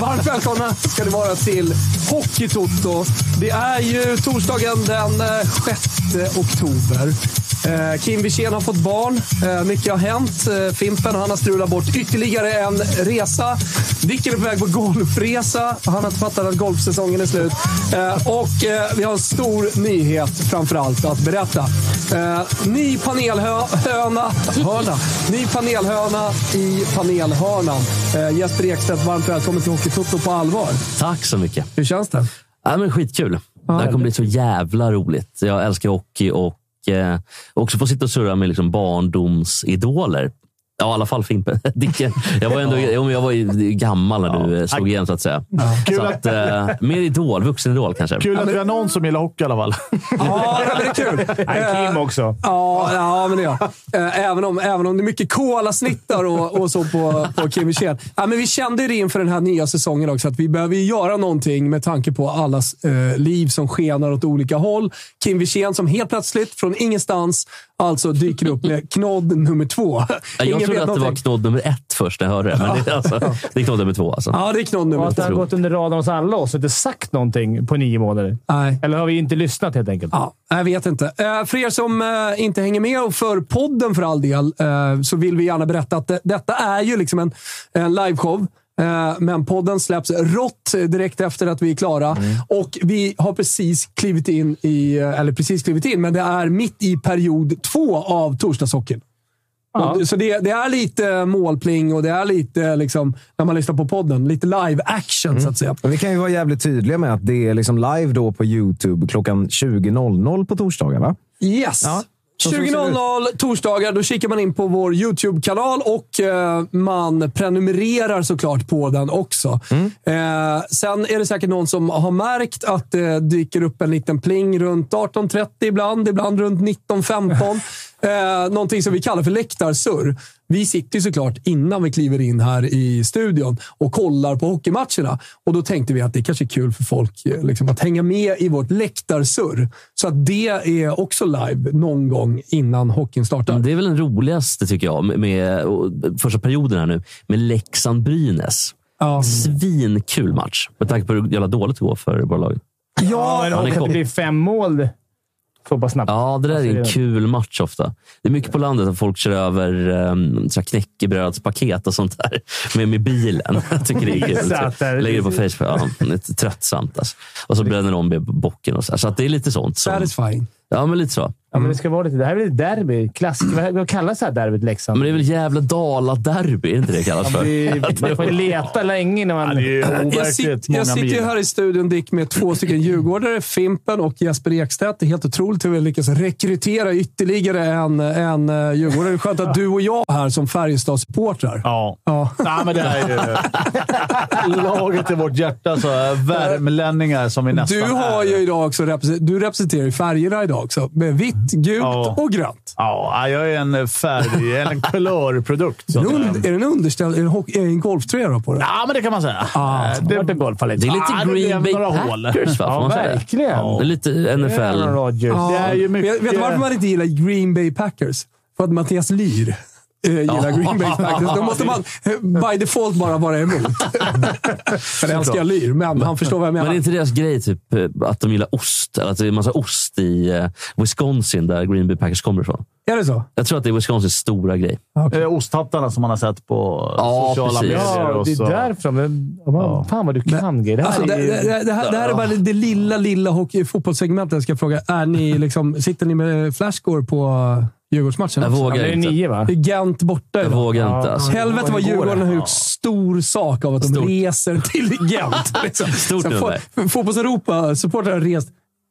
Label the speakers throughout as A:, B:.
A: Varmt välkomna ska ni vara till Hockeytoto. Det är ju torsdagen den eh, 6 oktober. Eh, Kim Wirsén har fått barn. Eh, mycket har hänt. Eh, Fimpen han har strulat bort ytterligare en resa. Dicken är på väg på golfresa. Han har inte fattat att golfsäsongen är slut. Eh, och eh, vi har en stor nyhet framför allt att berätta. Eh, ny panelhöna... Hörna. Ny panelhöna i panelhörnan. Eh, Jesper Ekstedt, varmt välkommen till Hockeytoto på allvar.
B: Tack så mycket.
A: Hur känns det?
B: Ja, men skitkul. det här
A: härligt.
B: kommer bli så jävla roligt. Jag älskar hockey och eh, också få sitta och surra med liksom barndomsidoler. Ja, i alla fall Fimpen. Dicken. Jag var, ändå, jo, men jag var ju gammal när du eh, slog igen, så att säga. Så att, eh, mer idol, vuxenidol kanske.
C: Kul att vi har någon som gillar hockey i alla fall.
A: Ja, men det är kul.
D: Nej, Kim också.
A: Ja, ja men det gör jag. Eh, Även om, även om det är mycket kolasnittar och, och så på, på Kim Wirsén. Ja, men vi kände ju det inför den här nya säsongen också, att vi behöver ju göra någonting med tanke på allas eh, liv som skenar åt olika håll. Kim Wirsén som helt plötsligt, från ingenstans, alltså dyker upp med knodd nummer två.
B: Ja, Jag
A: Ingen
B: trodde
A: vet
B: att det var
A: någonting.
B: knodd nummer ett först när jag hörde det. Men det, är alltså, det är knodd nummer två alltså.
A: Ja, det är knodd
D: Och
A: nummer
D: att det
A: två.
D: har gått under radarn hos alla oss och inte sagt någonting på nio månader.
A: Nej.
D: Eller har vi inte lyssnat helt enkelt?
A: Ja, jag vet inte. Eh, För er som eh, inte hänger med och för podden för all del eh, så vill vi gärna berätta att det- detta är ju liksom en, en liveshow. Eh, Men podden släpps rått direkt efter att vi är klara. Och vi har precis klivit in i, eh, eller precis klivit in, men det är mitt i period två av torsdagshockeyn.
D: Ja.
A: Och- Så det, det är lite målpling och det är lite, liksom, när man lyssnar på podden, lite live action så att säga.
E: Men vi kan ju vara jävligt tydliga med att det är liksom live då på YouTube klockan 20.00 på torsdagar, va?
A: Yes!
E: Ja, så ser det
A: 20.00 torsdagar, då kikar man in på vår YouTube-kanal och eh, man prenumererar såklart på den också.
E: Mm.
A: Eh, sen är det säkert någon som har märkt att det dyker upp en liten pling runt 18.30 ibland, ibland runt 19.15. eh, någonting som vi kallar för läktarsurr. Vi sitter ju såklart innan vi kliver in här i studion och kollar på hockeymatcherna. Och då tänkte vi att det kanske är kul för folk eh, liksom, att hänga med i vårt läktarsurr. Så att det är också live någon gång innan hockeyn startar.
B: Det är väl den roligaste, tycker jag, med, med och, första perioden här nu, med Leksand-Brynäs.
A: Ja.
B: Svinkul match, med tanke på hur jävla dåligt det går för båda lagen.
D: Ja, men
B: han är
D: och att
B: kort.
D: det blir fem mål så pass snabbt.
B: Ja, det där är en
D: Alltså,
B: kul match ofta. Det är mycket på landet att folk kör över um, knäckebrödspaket och sånt där med, med bilen. Jag tycker det är kul.
D: Exakt, det är-
B: Lägger det på Facebook. Ja, det är tröttsamt. Alltså. Och så bränner de med bocken. Och så, här. så att det är lite sånt. Som,
A: Satisfying.
B: ja, men lite så.
D: Ja, men det, ska vara lite, det här är väl ett derby. Klass, vad, vad kallas det här derbyt liksom? Leksand?
B: Men det är väl jävla Dala-derby, är det inte det det kallas för?
D: man får leta länge innan man...
A: Jag, sit, jag sitter ju här i studion Dick med två stycken djurgårdare, Fimpen och Jesper Ekstedt. Det är helt otroligt hur vi lyckas rekrytera ytterligare en, en eh, djurgårdare. Det är skönt att du och jag är här som Färjestadssupportrar.
C: Ja.
A: Ja.
C: Nej, men det är ju laget i vårt hjärta. Så är värmlänningar som vi nästan
A: Du har
C: är.
A: ju idag också represent- du representerar ju färgerna idag också. Med vitt, gult
C: Ja.
A: och grönt.
C: Ja, jag är en färg, en kolörprodukt. så att
A: En
C: säga.
A: und- är det en underställd? Är det en, hockey- är det en golftröja då på det?
C: Ja, men det kan man säga.
A: Ah.
C: Eh, det
D: Vart är golfallet?
B: Det är
C: Ah,
B: lite
C: det
B: Green
C: blev
B: Bay
C: några hål.
B: Packers, va? Får
D: Ja,
B: man säga det?
D: verkligen.
B: Det är lite
D: Aaron
B: NFL.
D: Rodgers.
A: Ja.
C: det är ju mycket-
A: vet, vet du varför man inte gillar Green Bay Packers? För att Mattias Lyr eh, gillar Green Bay Packers. Då måste man eh, by default bara vara emot. Sen älskar jag Lyr, men han förstår vad jag
B: Men
A: menar.
B: är inte deras grej typ, eh, att de gillar ost? Eller att det är en massa ost i eh, Wisconsin, där Green Bay Packers kommer ifrån?
A: Är det så?
B: Jag tror att det är Wisconsins stora grej.
C: Eh, osthattarna som man har sett på
B: Ja,
C: sociala
B: precis.
C: medier.
D: Ja,
C: och
D: det
C: så.
D: är därför de... Ja. Fan vad du kan grejer. Det här
A: Alltså, det,
D: är ju...
A: det, det, här, det här är bara det lilla, lilla hockey, fotbollssegmentet jag ska fråga. Är ni liksom, sitter ni med flashscore på Djurgårdsmatchen?
B: Jag
A: också?
B: vågar
D: det är
B: inte.
D: nio, va?
A: Det är Gent borta
B: Jag
A: idag.
B: vågar inte. Alltså.
A: Helvete vad Djurgården har gjort stor sak av att de
B: Stort.
A: reser till Gent. Liksom.
B: Stort
A: Så
B: nummer.
A: fo- Fotbolls-Europa-supportrar har rest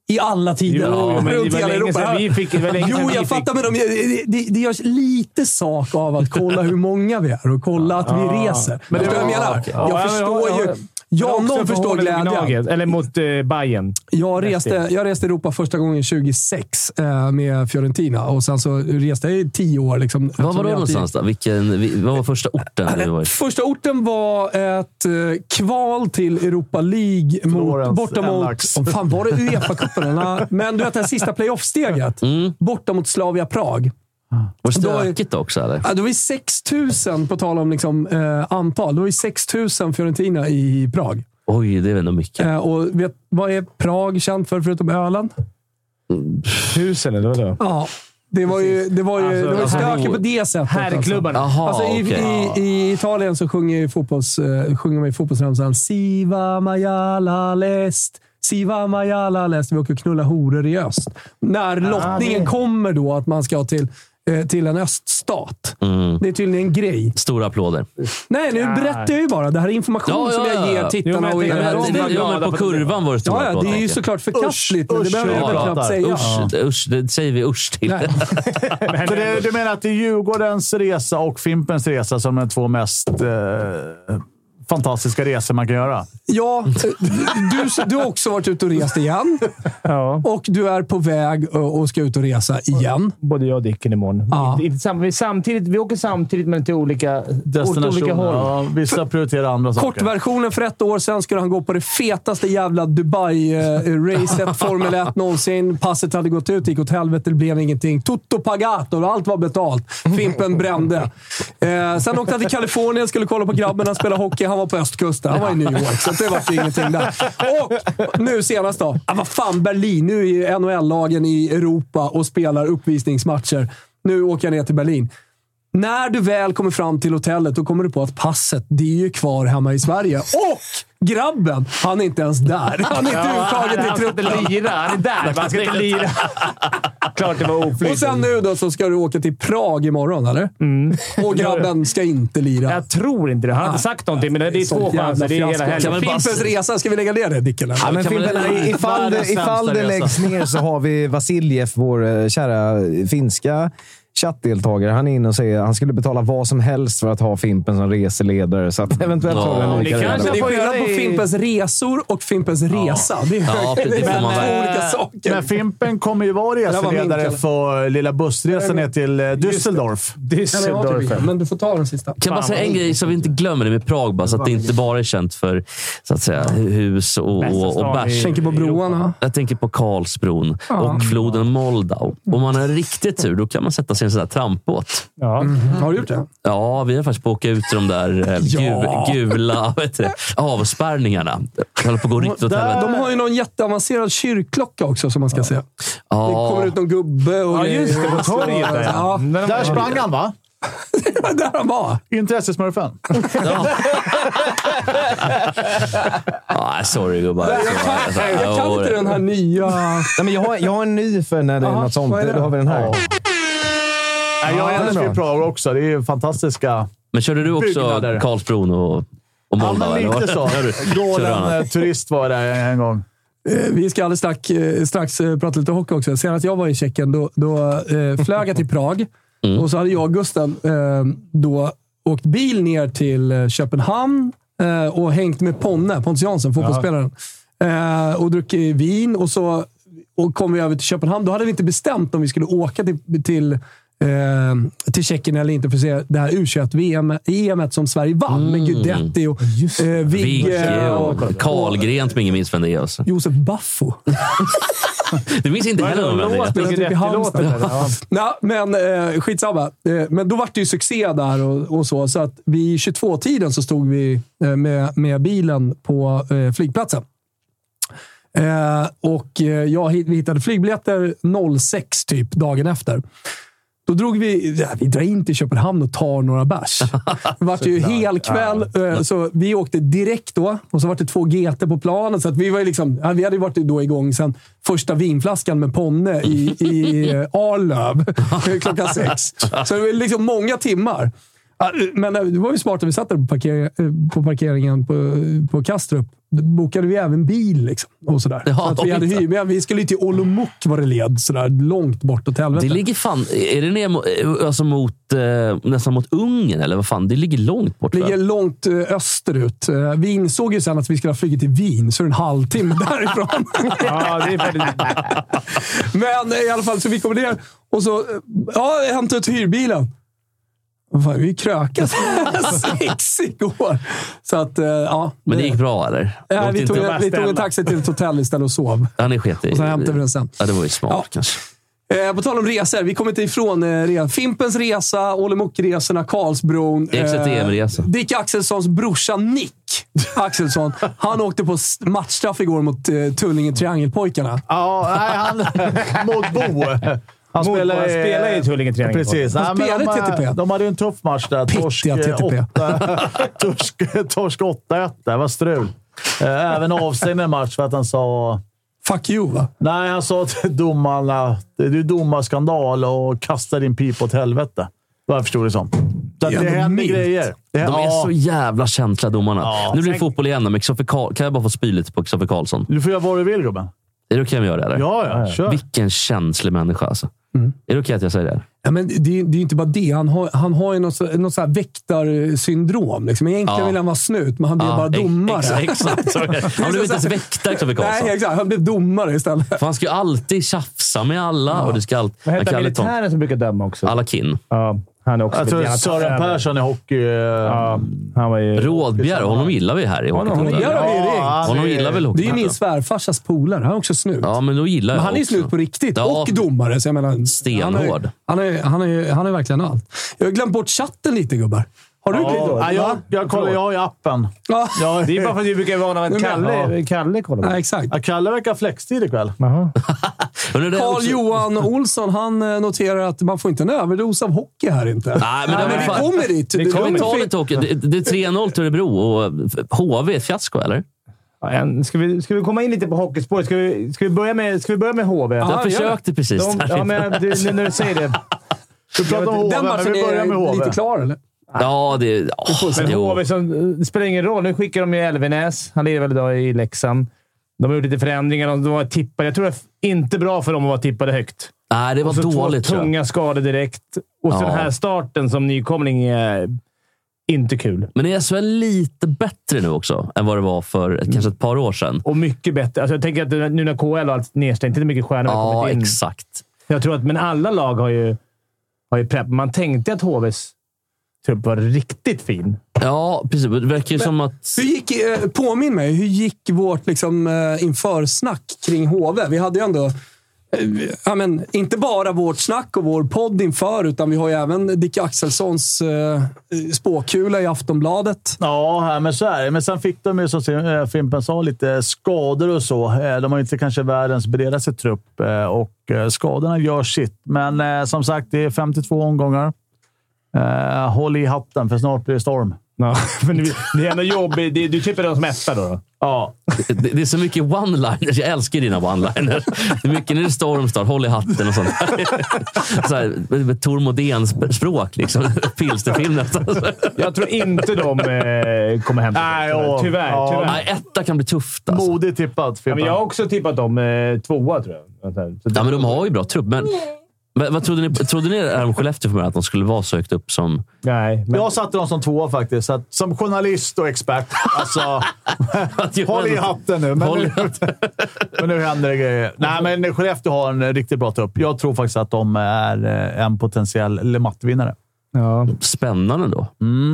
A: i alla tider.
D: Jo, men det
A: runt
D: var
A: hela
D: länge
A: Europa.
D: sedan vi fick- det var länge
A: jo,
D: sedan vi
A: jag
D: fick-
A: fattar, men de, det, det, det görs lite sak av att kolla hur många vi är och kolla att vi reser. Men det, jag menar?
D: Ja,
A: Jag
D: ja,
A: förstår
D: ja, ja.
A: ju. Jag om
D: Också
A: någon
D: på
A: förstår
D: Hålen i
A: glädjen.
D: Gnaget, Eller mot eh, Bayern.
A: Jag reste, jag reste i Europa första gången 2006 eh, med Fiorentina och sen så reste jag i tio år. Liksom,
B: Var var
A: Som
B: du
A: jag alltid-
B: någonstans då? Vilken, vi- vad var första orten du var i?
A: Första orten var ett eh, kval till Europa League mot,
C: Florens,
A: borta mot...
C: Ajax.
A: Oh, fan, var det Uefa-cupen? eller? Men du vet det här sista playoff-steget. Borta mot Slavia Prag.
B: Var det
A: Då är-
B: stökigt också eller?
A: Ja, det var ju 6 000, på tal om liksom, eh, antal, det var ju 6 000 Fiorentina i Prag.
B: Oj, det är ändå mycket.
A: Eh, och vet, vad är Prag känt för, förutom ölen?
C: Tusen eller vadå?
A: Ja, det var ju, det var ju,
C: Alltså,
A: det var ju
B: alltså,
A: stökigt på det sättet.
D: Herrklubbarna.
B: Jaha,
A: Alltså, i,
B: Ah, okej.
A: i, I Italien så sjunger, ju fotbolls, eh, sjunger man ju fotbollsramsan Siva Majala Lest. Siva Majala Lest. Vi åker och knullar horor i öst. När lottningen
D: det-
A: kommer då att man ska till, eh, till en öststat. Det är tydligen en grej.
B: Stora applåder.
A: Nej, nu berättar jag ju bara. Det här är information
B: Ja,
A: som
B: ja,
A: jag
B: ja.
A: ger
B: Jo,
A: tittarna
D: men jag
A: och
D: tänker-
A: er.
B: Ja,
D: Ja, de var
B: men, ja,
D: glada
B: men
D: på
B: på
D: det.
B: kurvan var det stora
A: Ja, ja, det
B: applåder,
A: är ju
B: tänker
A: såklart
B: jag.
A: förkastligt, men det
C: usch,
A: behöver jag
C: ja,
A: väl
C: ja.
A: knappt säga.
B: Usch, usch, det säger vi usch till.
A: Nej.
C: Så det, du menar att det är Djurgårdens resa och Fimpens resa som är de två mest eh, fantastiska resor man kan göra?
A: Ja, du, du har också varit ute och rest igen.
D: Ja,
A: Och du är på väg och och ska ut och resa igen.
D: både jag och Dicken imorgon.
A: Ja.
D: Inte- inte sam- vi, samtidigt, vi åker samtidigt, men till olika, åt olika håll.
C: Ja, vissa prioriterar andra saker.
A: Kortversionen för ett år sedan skulle han gå på det fetaste jävla Dubai-racet, Formel 1 någonsin. Passet hade gått ut, gick åt helvete, det blev ingenting. Tutto pagato, allt var betalt. Fimpen brände. Eh, sen åkte han till Kalifornien, skulle kolla på grabbarna spela hockey. Han var på östkusten. Han var i New York, så det var ju ingenting där. Och nu senast då. Ah, vad fan, Berlin. Nu är ju NHL-lagen i Europa och spelar uppvisningsmatcher. Nu åker jag ner till Berlin. När du väl kommer fram till hotellet, då kommer du på att passet, det är ju kvar hemma i Sverige. Och grabben, han är inte ens där. Han är inte uttagen
D: Han
A: till
D: ska inte
A: truppen.
D: lira. Han är där. Man ska inte lira. Klart det var oflyt.
A: Och sen nu då så ska du åka till Prag imorgon, eller?
D: Mm.
A: Och grabben ska inte lira.
D: Jag tror inte det. Han har inte sagt någonting, men det är två
A: Sånt jävla
D: chanser. Det är hela
A: fiasko.
B: Kan
D: helgen.
B: man bara-
A: Fimpens resa, ska vi lägga ner det, Dicken? eller?
E: Ja, men
B: Kan man-
E: Fimpen, i- ifall
C: Världens
E: det, ifall
C: sämsta
E: det
C: resa.
E: läggs ner så har vi Vasiljev, vår eh, kära finska chattdeltagare. Han är inne och säger att han skulle betala vad som helst för att ha Fimpen som reseledare. Så att eventuellt
B: Ja,
E: har vi en
B: det
E: olika
D: kanske-
E: reda.
A: Men det är
D: får göra
A: skillnad på
D: det i-
A: Fimpens resor och Fimpens resa. Det är,
B: Ja, precis.
A: det är
B: Men,
A: två
B: eh,
A: olika saker.
C: Men Fimpen kommer ju vara
A: där var min
C: reseledare
A: kille.
C: för eh, lilla bussresan ner till eh, Düsseldorf.
D: Düsseldorf.
A: typ Men du får ta den sista.
B: Kan jag bara
D: Fan,
B: säga
D: vad
B: en grej så vi inte glömmer det med Prag, bara, så att det inte bara är känt för så att säga, hus och,
D: Bästa
B: och, och
D: stan
B: bärs.
D: i-
A: Tänker på broarna.
B: Jag tänker på Karlsbron och floden Moldau. Om man har riktig tur, då kan man sätta sig i en sån där trampbåt.
D: Ja.
A: Har du gjort det?
B: Ja, vi har faktiskt på att åka ut till de där eh, gu,
A: Ja.
B: gula vad heter det, avspärrningarna. Jag håller på att gå riktigt åt
C: Där-
B: helvete.
A: De har ju någon jätteavancerad kyrkklocka också som man ska se. Det kommer
B: Ja,
A: ut någon gubbe och
D: Ja, just det. På torget där,
A: ja.
D: ja. Men-
C: Där sprang han, va?
A: ja, där han var.
C: Intressesmurfen.
B: ah, sorry gubbar. alltså,
A: Jag kan, jag kan inte den här nya...
E: Nej, men jag, har, jag har en ny för när det är
A: Jaha,
E: något sånt.
A: vad är det
E: Då
A: då?
E: har vi den här.
C: Nej,
E: Ja,
C: jag älskar
E: det
C: ju
E: är bra.
C: Prag också. Det är ju fantastiska...
B: Men körde du också
C: Byggnader.
B: Karlsbron och, och
C: Ja,
B: Moldau?
C: men
B: eller vad?
C: lite så.
B: Gör du? Körde han?
C: Galen eh, turist var där en gång.
A: Eh, Vi ska alldeles strax, eh, strax eh, prata lite hockey också. Senast jag var i Tjeckien, då, då eh, flög jag till Prag. Och så hade jag och Gusten eh, då åkt bil ner till eh, Köpenhamn eh, och hängt med Ponne, Pontus Jansson, fotbollsspelaren. Eh, och druckit vin och så och kom vi över till Köpenhamn. Då hade vi inte bestämt om vi skulle åka till, till eh, till Tjeckien eller inte för att se det här U21-VM E som Sverige vann med Guidetti och eh,
B: Vigge
A: Vigge och,
B: och Karlgren som ingen minns vem det är. Alltså.
A: Josef Baffo.
B: Du minns inte heller någon vem det är?
A: spelar
D: Vilken
A: typ i
D: rätt låt
A: Halmstad.
D: det där, ja.
A: Nej, men eh, skitsamma. Eh, men då var det ju succé där och, och så. Så att vid 22-tiden så stod vi eh, med, med bilen på eh, flygplatsen. Eh, och eh, jag hit- vi hittade flygbiljetter 06 typ dagen efter. Då drog vi, ja, vi drar in till Köpenhamn och tar några bärs. Det vart ju hel kväll, eh, så vi åkte direkt då. Och så var det två GT på planet. Så att vi, var ju liksom, ja, vi hade ju varit då igång sen första vinflaskan med Ponne i, i eh, Arlöv klockan sex. Så det var liksom många timmar. Ja, Men eh, det var ju smart att vi satt där på, parker, eh, på parkeringen på, på Kastrup. Då bokade vi även bil liksom, och sådär.
B: Ja,
A: så att vi, hade
B: oj då.
A: hyr, men vi skulle ju till Olomouc var det led, sådär, långt bort åt helvete.
B: Det ligger fan... Är det ner mot, alltså mot, eh, nästan mot Ungern, eller vad fan? Det ligger långt bort.
A: ligger långt eh, österut. Eh, Vi insåg ju sen att vi skulle ha flugit till Wien, så det är en halvtimme därifrån.
D: Ja, det är väldigt...
A: Men eh, i alla fall, så vi kommer ner och så eh, ja, jag hämtade ut hyrbilen. Vad Fan, vi krökade sex igår. Så att, eh, ja.
B: Men det gick bra, eller?
A: Eh,
B: Åkte
A: vi, tog,
B: inte-
A: vi tog en
D: ställa.
A: taxi till ett hotell istället och sov.
B: Ja, ni sket i.
A: Och sen hämtade vi den sen.
B: Ja, det var ju smart
A: Ja.
B: kanske.
A: Eh, på tal om resor, vi kommer inte ifrån eh, re- Fimpens Resa, Olle Muck-resorna, Karlsbron. eh,
B: XTM-resa.
A: Dick Axelssons brorsa Nick Axelsson, han åkte på s- matchstraff igår mot eh, Tullinge Triangelpojkarna.
C: Ja, nej, han... mot Bo. Han
D: Mot- han spelar eh, i Tullinge Triangeln.
C: Precis.
A: Han
C: Nej, men
A: spelar i
C: de,
A: TTP.
C: hade- de hade ju en tuff match där. Torsk
A: Pittiga TTP.
C: eh, åtta- torsk- torsk 8-1. Det var strul. Eh, Även avstängd en match för att han sa...
A: Fuck you, va?
C: Nej, han sa till domarna det är domarskandal och kasta din pipa åt helvete. Vad jag förstod det som. Så att
A: Det är
C: det
A: ändå
C: händer
A: milt.
C: grejer. Det,
B: De är
C: ja,
B: så jävla känsliga, domarna.
C: Ja.
B: Nu blir det fotboll igen, men Kristoffer Karl- kan jag bara få spy lite på Kristoffer Karlsson?
C: Du får göra vad du vill, gubben.
B: Är det okej om jag gör det? Eller?
C: Ja, ja. Kör.
B: Vilken känslig människa alltså. Är det okej att jag säger det?
A: Ja, men det, det är ju inte bara det. Han har, han har ju något, så- något så här väktarsyndrom. Liksom. Egentligen
B: Ja.
A: vill han vara snut, men han blev
B: Ja,
A: bara
B: ex-
A: domare.
B: ex- alltså. Exakt. Han blev inte ens väktare, Kristoffer Karlsson.
A: Nej, exakt. Han blev domare istället.
B: För han ska ju alltid tjafsa med alla. Och det ska all...
D: Vad
B: han
D: hette
B: kan
D: han,
B: aldrig ta-
D: militären som brukar döma också?
B: Alakin.
D: Ja, han är också
C: Jag tror
D: lite grann-
C: Sören Persson i hockey... eh,
D: Ja, han var ju...
B: Rådbjer, honom gillar vi här i
A: honom
B: Hockeyklubben.
A: gillar vi.
C: ja, han
B: Honom
C: är-
B: gillar väl
A: Det är ju
B: Hockeyklubben?
A: min svärfarsas polare. Han är också snut.
B: Ja, men då gillar
A: Men
B: jag
A: han är ju
B: också.
A: snut på riktigt
B: Ja.
A: och domare. Så jag menar,
B: Stenhård.
A: Han är, han, är, han, är, han är verkligen allt. Jag har glömt bort chatten lite, gubbar. Har du glömt bort?
C: Ja, jag, jag kollar, jag har ju appen.
A: Ja.
C: Jag,
D: Det är bara för att vi brukar vana vid att Kalle, Kalle kollar
A: Ja,
D: på.
A: exakt.
C: jag Kalle verkar ha flextid ikväll.
D: Jaha.
B: Men det är
A: Carl
B: också-
A: Johan Olsson han eh, noterar att man får inte en överdos av hockey här inte.
B: Nej, men det var
A: vi
B: fan-
A: kommer dit.
D: Vi
A: Det
D: kommer
B: Vi
A: lugnt.
B: tar lite hockey. Det, det är 3-0 till Örebro och HV är ett fiasko, eller?
D: Ja, en- Ska vi, ska vi komma in lite på hockeyspåret? Ska vi, ska vi, börja, med, ska vi börja med HV?
B: Jag
A: Ja,
B: försökte precis.
D: De,
B: där.
D: ja, men du, nu när du säger det.
C: Du pratar om HV,
A: Den
C: men
A: matchen
C: vi börjar med
A: är
C: HV.
A: lite klar, eller?
B: ja, det... åh,
D: Men
B: jo.
D: HV, som, det spelar ingen roll. Nu skickar de ju Elvenäs. Han lirar väl idag i Leksand. De har gjort lite förändringar. De var tippade. Jag tror det är inte bra för dem att vara tippade högt.
B: Nej, det var
D: Så
B: dåligt
D: två
B: tror jag.
D: tunga skador direkt. Och så
B: Ja.
D: den här starten som nykomling är inte kul.
B: Men är SHL lite bättre nu också än vad det var för ett, kanske ett par år
A: Mm.
B: sedan?
D: Och mycket bättre. Alltså jag tänker att nu när KL och allt nedstängt, inte mycket stjärnor har
B: Ja,
D: kommit in.
B: exakt.
D: Jag tror att, men alla lag har ju, har ju prepp. Man tänkte att HVs trupp var riktigt fin.
B: Ja, precis. Det verkar ju som att...
A: Hur gick, eh, påminn mig, hur gick vårt liksom, eh, införsnack kring HV? Vi hade ju ändå, eh, vi- ja, men, inte bara vårt snack och vår podd inför, utan vi har ju även Dick Axelssons eh, spåkula i Aftonbladet.
C: Ja, men så är det. Men sen fick de ju, som eh, Fimpen sa, lite skador och så. Eh, De har ju inte kanske världens bredaste trupp eh, och eh, skadorna gör sitt. Men eh, som sagt, det är 52 omgångar. Eh, Håll i hatten, för snart blir det storm.
D: Ja, men det, det är ändå jobbigt. Det, du klipper dem som etta då? då.
C: Ja,
B: Det, det är så mycket one-liners. Jag älskar dina one-liners. Det är mycket när det är stormstart, håll i hatten och sånt. Så här, med Tor Modén-språk, liksom. Pilsterfilm nästan.
D: Jag tror inte de eh, kommer hämta
C: Nej,
D: det.
C: ja.
D: Tyvärr.
C: Ja.
D: tyvärr.
B: Nej, etta kan bli tufft alltså.
C: modigt tippat,
D: Ja, men
C: Fimpen.
D: jag har också tippat dem eh, tvåa, tror jag. Så det-
B: Ja, men de har ju bra trupp, men... men vad trodde ni, trodde ni det här om Skellefteå för mig, att de skulle vara så högt upp som...
D: Nej, men
C: Jag satte dem som tvåa faktiskt, så att, som journalist och expert. Alltså, håll i hatten nu. Men
B: Håll i
C: nu, men nu händer det grejer. Nej, men Skellefteå har en riktigt bra trupp. Jag tror faktiskt att de är eh, en potentiell LeMatt-vinnare.
D: Ja.
B: Spännande då.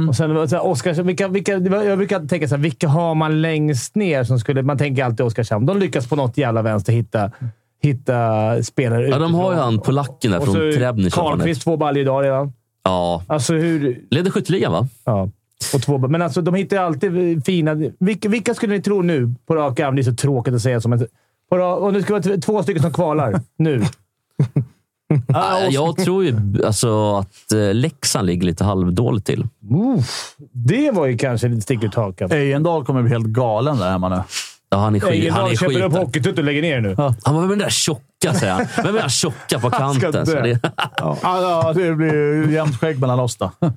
D: Och sen var det så här, Oskar, vilka, vilka, det var- jag brukar alltid tänka så här, vilka har man längst ner som skulle... Man tänker alltid Oskarshamn. De lyckas på något jävla vänster hitta, hitta spelare
B: Ja, de har ju han polacken där
D: Och så
B: från Trebnik.
D: Karlqvist två baljor idag redan.
B: Ja.
D: Alltså hur...
B: Leder skytteligan, va?
D: Ja. Och två, men alltså, de hittar ju alltid fina... Vilka, vilka skulle ni tro nu på rak arm? Det är så tråkigt att säga. Som en, på rak, och nu ska det vara t- två stycken som kvalar. Nu.
B: Ah, jag tror ju alltså, att eh, Leksand ligger lite halvdåligt till.
D: Det var ju kanske lite stick ut hakan.
C: Ejendahl kommer bli helt galen där hemma nu.
B: Ja, han är skit. Han är
D: Egendahl köper upp
B: skit.
D: hockeytutt och lägger ner nu.
B: Han var den där tjocka, säger han. Vem är den där tjocka på
C: Han ska
B: kanten? Så
C: dö.
B: det,
C: Ja. Alltså, det blir ju jämnt skägg mellan oss då.
B: men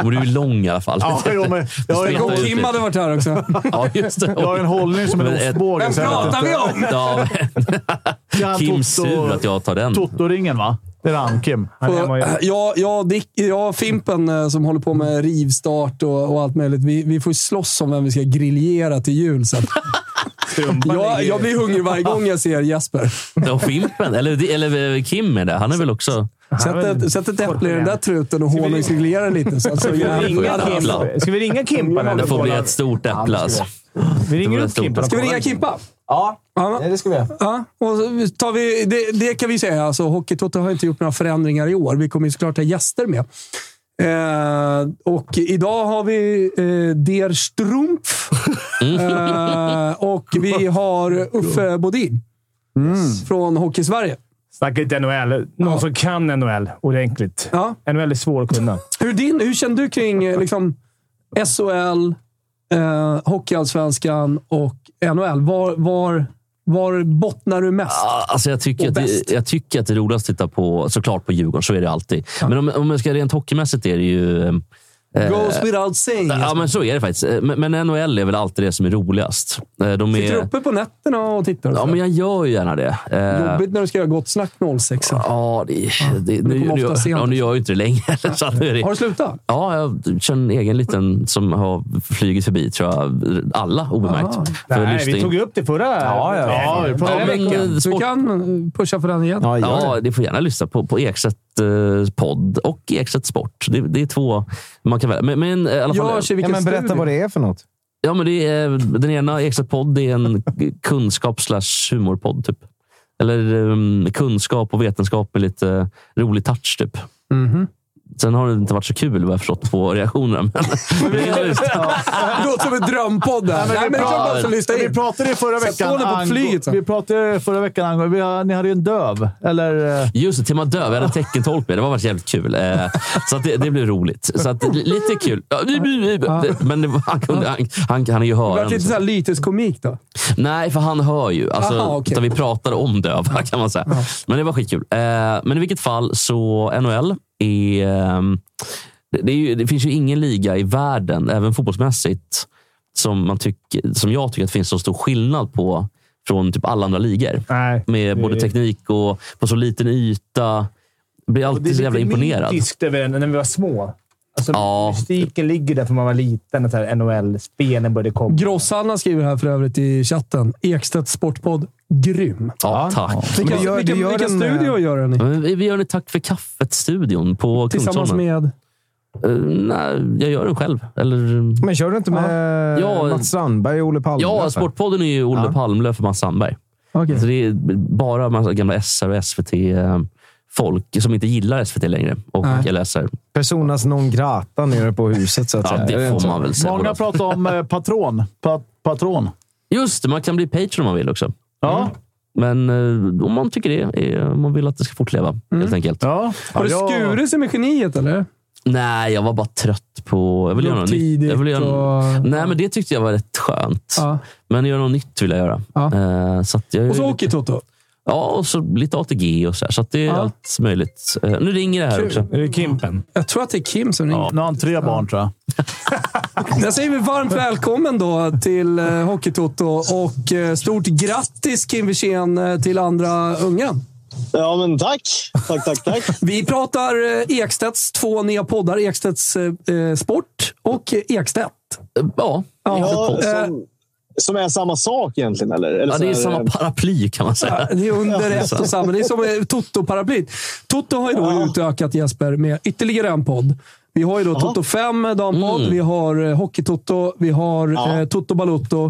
B: du är lång i alla fall.
C: Ja, jo, men jag har ju
B: Stretar
C: en,
B: ut
A: Och Kim
B: lite.
A: hade varit här också.
B: Ja, just det.
C: jag har en hållning som en
B: Men ett-
C: ostbåge.
A: Vem
C: så jag vet
A: pratar
C: inte.
A: vi om?
B: Ja, men,
C: Ja,
B: Kim
C: Toto-
B: sur att jag tar den.
C: Toto-ringen, va? Det är han, Kim.
D: Han är hemma och gör-
A: Jag, jag, Dick, jag Fimpen eh, som håller på med rivstart och, och allt möjligt. Vi, vi får ju slåss om vem vi ska griljera till jul sen. jag, jag blir hungrig varje gång jag ser Jesper.
B: Och Fimpen, eller, eller eh, Kim är det. Han är väl också...
A: Sätt ett, sätt ett äpple i den där truten och honungsreglera den lite. Sen så
D: Ska vi ringa
B: jävla
D: Kimpa?
B: jävla.
D: Ska vi ringa Kimpa?
B: Det
D: nu?
B: får bli ett stort äpple alltså.
D: Vi ringer
B: det
D: upp
B: får bli
D: Kimpa.
B: ett
A: Ska vi ringa Kimpa?
E: Ja,
A: Ja.
E: det ska vi göra.
A: Ja, och så tar vi, det, det kan vi säga. Alltså, Hockeytoto har inte gjort några förändringar i år. Vi kommer ju såklart ha gäster med. Eh, och idag har vi eh, Der Strumpf
B: Mm.
A: eh, och vi har Uffe Bodin från Hockey Sverige.
D: Snacka lite NHL. Någon
A: Ja.
D: som kan NHL ordentligt.
A: Ja.
D: NHL är svår att kunna.
A: Hur, din, hur känner du kring eh, liksom, SHL, eh, Hockeyallsvenskan och NHL? Var, var, var bottnar du mest?
B: Ja, Alltså jag, tycker
A: Och
B: att det,
A: bäst.
B: jag tycker att det är roligast att titta på, såklart på Djurgården, så är det alltid. Men om, om jag ska rent hockeymässigt är det ju... eh,
A: Goes without saying.
B: Ja, men så är det faktiskt. Eh, Men, men NHL är väl alltid det som är roligast. Eh, De
A: Sitter du
B: är,
A: uppe på nätterna och tittar? och
B: ja,
A: så?
B: men jag gör ju gärna det. Eh,
A: Jobbigt när du ska göra gott snack 06.
B: Ja, det, det,
A: men det
B: nu,
A: kommer
B: nu,
A: ofta sent.
B: ja, nu gör jag ju inte det längre. Så att nu är det,
A: Har du slutat?
B: Ja, jag känner en egen liten som har flugit förbi, tror jag. Alla obemärkt.
A: Aha.
B: För
D: Nej,
B: lyssning.
D: vi tog ju upp det förra
E: Ja, ja, ja.
D: förra
B: Ja, men,
D: veckan.
B: eh,
A: Så vi
B: sport,
A: kan pusha för den igen.
E: Ja, gör det.
B: ja, ni får gärna lyssna på, på Ekstedt eh, podd och Ekstedt Sport. Det, det är två man kan välja. Men, men eh, i alla fall,
A: Görs i
E: Ja,
A: vilken
E: men berätta
A: studio?
E: vad det är för något.
B: ja, men det är, den ena, Ekstedt podd, det är en kunskaps slash humorpodd. Typ. Eller eh, kunskap och vetenskap med lite rolig touch. Typ.
A: Mhm.
B: Sen har det inte varit så kul vad jag förstått på reaktionerna. Men,
A: Det låter som en drömpodd. där. Nej, men det är klart man ska lyssna
C: Vi
A: in.
C: pratade ju förra
A: Sätt på
C: veckan...
A: den på
C: ang-
A: flyget, så.
C: vi pratade förra veckan angående... vi har- Ni hade ju en döv, eller? eh,
B: Just det, tema döv. Jag hade teckentolk med. Det var varit jävligt kul. Eh, så att det, det blev roligt. Så att, li- lite kul. Ja, vi- vi- vi- det- Men det, var- han, kunde, han, han, han är ju
A: Det vart
B: hörande.
A: lite såhär lyteskomik då.
B: Nej, för han hör ju. Alltså,
A: Aha, okej.
B: utan Vi pratade om döva kan man säga. Men det var skitkul. Eh, men i vilket fall så NHL är... ehm, det, det, är ju, det finns ju ingen liga i världen, även fotbollsmässigt, som, man tycker, som jag tycker att det finns så stor skillnad på från typ alla andra ligor
D: Nej.
B: med både
D: Det-
B: teknik och på så liten yta. Jag blir alltid så jävla imponerad.
D: mytiskt över den när vi var små. Alltså,
B: Ja.
D: Mystiken ligger där för man var liten. att så här NHL-spelen började komma.
A: Grosshanna skriver här för övrigt i chatten. Ekstedt Sportpodd. Grym.
B: Ja, tack.
A: Vilka,
E: du gör-
A: vilka,
E: du gör
A: vilka
E: den, eh,
A: studior gör den i?
B: Men vi vi gör en tack för kaffet-studion på
A: Tillsammans
B: Kungsholmen.
A: med...
B: Eh, nej, jag gör den själv. Eller,
E: Men kör du inte med eh,
B: Ja.
E: Mats Strandberg och Olle Palme?
B: ja, Sportpodden är ju Olle
E: Ja.
B: Palmlöf och Mats Sandberg.
A: Okej.
B: Så det är bara massa gamla SR och SVT-folk eh, som inte gillar SVT längre. Och,
A: Nej.
B: eller SR.
E: Personas non grata nere på huset, så att
B: Ja,
E: säga. Är
B: det
E: inte
B: får
E: så?
B: man väl säga.
C: Många pratar om eh, patron. Pa, patron.
B: Just det, man kan bli Patreon om man vill också.
C: Ja.
B: Men eh, om man tycker det, är, om man vill att det ska fortleva helt enkelt.
C: ja.
A: Har du skurit sig med geniet eller?
B: Nej, jag var bara trött på... Jag vill göra något nytt.
A: tidigt
B: Jag vill göra...
A: och...
B: Nej, men det tyckte jag var rätt skönt.
A: Ja.
B: Men göra något nytt vill jag göra.
A: Ja.
B: Eh, så att jag,
A: Och så Hockeytoto.
B: Ja, och så lite ATG och så här. Så att det är
A: Ja.
B: allt möjligt. Eh, nu ringer det här
A: Kul.
B: också.
D: Är det Kimpen?
A: Jag tror att det är Kim som ringer.
C: Ja, Nu har han tre barn, tror jag.
A: Där säger vi varmt välkommen då till eh, Hockeytoto och eh, stort grattis Kim Wirsén eh, till andra ungen.
F: Ja, men tack. Tack, tack, tack.
A: Vi pratar eh, Ekstedts två nya poddar, Ekstedts eh, eh, Sport och eh, Ekstedt.
B: Eh, ja.
F: Ja,
A: eh,
F: som, som är samma sak egentligen, eller?
B: ja,
F: eller så
B: det är
F: här,
B: samma
F: eh,
B: paraply kan man säga.
A: det är under ett och samma. Det är som eh, Toto-paraplyt. Toto har ju då utökat Jesper med ytterligare en podd. Vi har ju då Toto 5 eh, dampodd, vi har eh, Hockeytoto, vi har
F: Ja.
A: eh, Toto Balotto.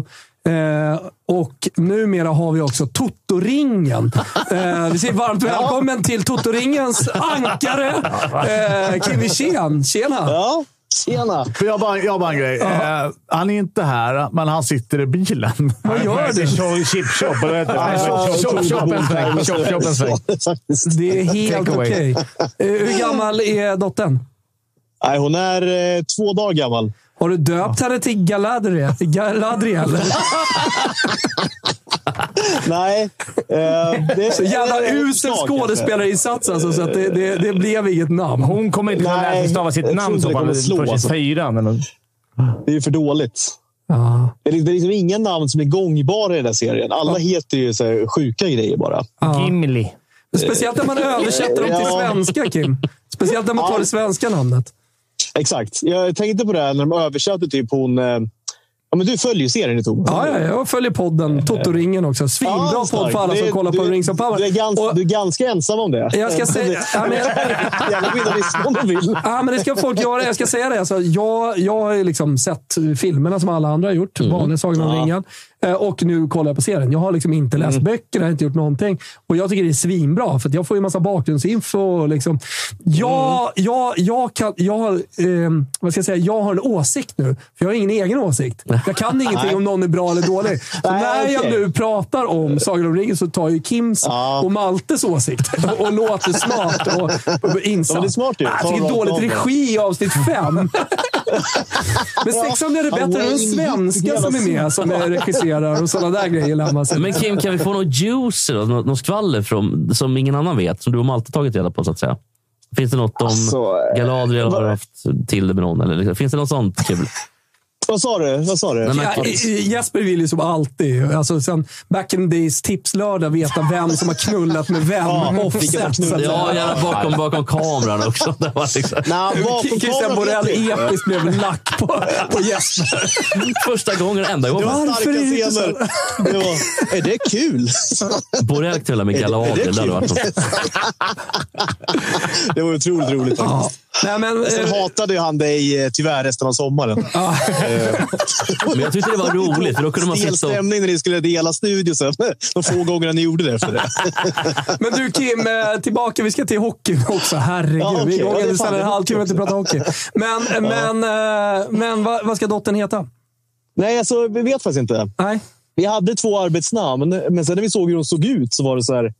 A: Eh, och numera har vi också Totoringen. Eh, vi säger varmt välkommen till Totoringens ankare eh, Kim Wirsén. Tjena!
F: Ja, tjena.
C: För jag har bara, jag har bara en grej. Eh, han är inte här, men han sitter i bilen.
A: Vad gör du?
D: Chipshop, eller vad heter
F: Eh,
D: det?
F: Tjopp,
E: tjopp, en sväng, tjopp, tjopp, en sväng.
F: Faktiskt.
A: Det är helt
E: Take away.
A: okej. Eh, Hur gammal är dottern?
F: Nej, hon är eh, två dagar gammal.
A: Har du döpt henne till Galadriel? Galadriel?
F: Nej. Eh, det är
A: Så jävla
F: eller-
A: usel
F: slag,
A: skådespelarinsats alltså, så att det, det, det blev inget namn.
D: Hon kommer inte kunna
F: Nej,
D: lära sig stava sitt
F: jag tror
D: namn
F: inte
D: så
F: det
D: fall.
F: kommer slå,
D: Först
F: alltså.
D: i fyran. Eller?
F: kanske. Det är ju för dåligt.
A: Ja.
F: Det är liksom, det är liksom inga namn som är gångbara i den här serien. Alla heter ju så här, sjuka grejer bara.
A: Ja.
D: Gimli.
A: Speciellt när man översätter dem till
F: Ja.
A: svenska, Kim. Speciellt när man tar det svenska namnet.
F: Exakt. Jag tänkte på det här när de översatte typ hon... eh, Ja, men du följer ju serien, Tomas.
A: Ja, ja, jag följer podden Toto-ringen också. Svinbra
F: Ja, starkt.
A: podd för alla som
F: Det-
A: kollar på
F: du-
A: Rings of Power.
F: Du är, gans,
A: Och-
F: du är ganska ensam om det.
A: Jag ska säga- ja, men-
F: Jävla skillnad lyssna om de vill.
A: Ja, men det ska folk göra. Jag ska säga det. Alltså, jag, jag har ju liksom sett filmerna som alla andra har gjort.
F: Mm.
A: Vanliga Sagan om ringen. Eh, Och nu kollar jag på serien. Jag har liksom inte
F: Mm.
A: läst böckerna, jag har inte gjort någonting. Och jag tycker det är svinbra, för att jag får ju massa bakgrundsinfo. Och liksom. jag,
F: Mm.
A: jag, jag, kan, jag, har, ehm, vad ska jag, säga? jag har en åsikt nu, för jag har ingen egen åsikt. Jag kan ingenting om någon är bra eller dålig. Så
F: Nej,
A: när jag
F: okej.
A: nu pratar om Sagan om ringen så tar ju Kims
F: Ja.
A: och Maltes åsikt och, och låter smart och, och insatt.
F: Ja, men det är smart ju.
A: Ah, Jag
F: Ta
A: fick
F: rakt
A: dåligt
F: av det.
A: regi i avsnitt fem. Men sexan är det bättre. Det är en svenska som är med som är regisserar och sådana där grejer lär man sig.
B: Men Kim, kan vi få någon juice då? Nå- Någon skvaller från, som ingen annan vet? Som du och Malte tagit reda på, så att säga. Finns det något om
F: Alltså, eh,
B: Galadriel har
F: vad- Alltså,
B: haft till det med någon? Eller, liksom, finns det något sånt kul?
F: Vad sa du? Vad sa du?
B: Nej, men-
A: Ja, i- i- Jesper vill ju som alltid, alltså sen back in the days tipslördag, veta vem som har knullat med vem.
F: Ja, vilka som
A: offset. så att
F: knullar.
A: säga.
B: Ja, gärna bakom, bakom kameran också. Det var liksom,
F: Nej,
A: K- Christian Borell
F: vapenkameran vet
A: episkt blev lack på, på Jesper.
B: första gången, enda
F: du. Det
B: gången.
F: var
A: Varför är det
F: starka
A: inte så?
F: scener. Det var, är det kul?
B: Borrell knullar med Galadriel. Det hade varit något.
F: Det var otroligt roligt
A: Ja.
F: faktiskt.
A: Nej, men,
F: Sen
A: eh,
F: hatade ju han dig eh, tyvärr resten av sommaren.
A: ja.
B: Men jag tyckte det var roligt, för då kunde man
F: Stel
B: sitta och...
F: stämning när ni skulle dela studio sen. De få gångerna ni gjorde det efter det.
A: Men du Kim, eh, tillbaka. Vi ska till hockeyn också. Herregud.
F: Ja, okej.
A: Vi är igång
F: Ja, det är
A: ja,
F: fan,
A: sedan en
F: det är
A: halvtimme
F: hockey
A: inte prata hockey. Men, men, eh, men vad, vad ska dottern heta?
F: Nej, alltså, vi vet faktiskt inte.
A: Nej.
F: Vi hade två arbetsnamn, men sen när vi såg hur de såg ut så var det så här.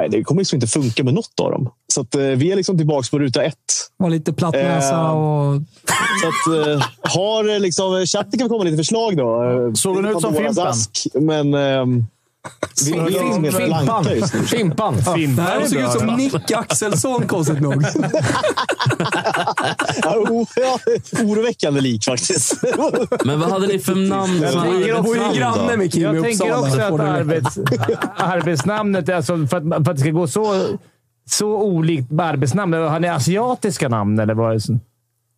F: Nej, det kommer liksom inte funka med något av dem. Så att, eh, vi är liksom tillbaka på ruta ett.
A: Var lite platt näsa
F: Eh,
A: och...
F: Så att, eh, har eh, liksom, chatten kan få komma med lite förslag då. Eh,
C: Såg den
F: det
C: ut
F: var
C: som
F: våras
C: Fimpen?
F: Ask, Men ehm, vi vi är liksom helt blanka just nu.
E: Fimpan!
A: Det här
D: Fimpen
A: såg ut som
D: bra.
A: Nick Axelsson, konstigt nog.
F: Ja, o- ja, oroväckande lik faktiskt.
B: Men vad hade ni för namn?
A: Han bor ju- bor ju granne med Kim i
D: Jag tänker
A: Uppsala.
D: också
A: så får
D: att
A: den-
D: arbets, arbetsnamnet, är alltså för, att, för att det ska gå så, så olikt med arbetsnamn. Har ni asiatiska namn eller vad är det, som-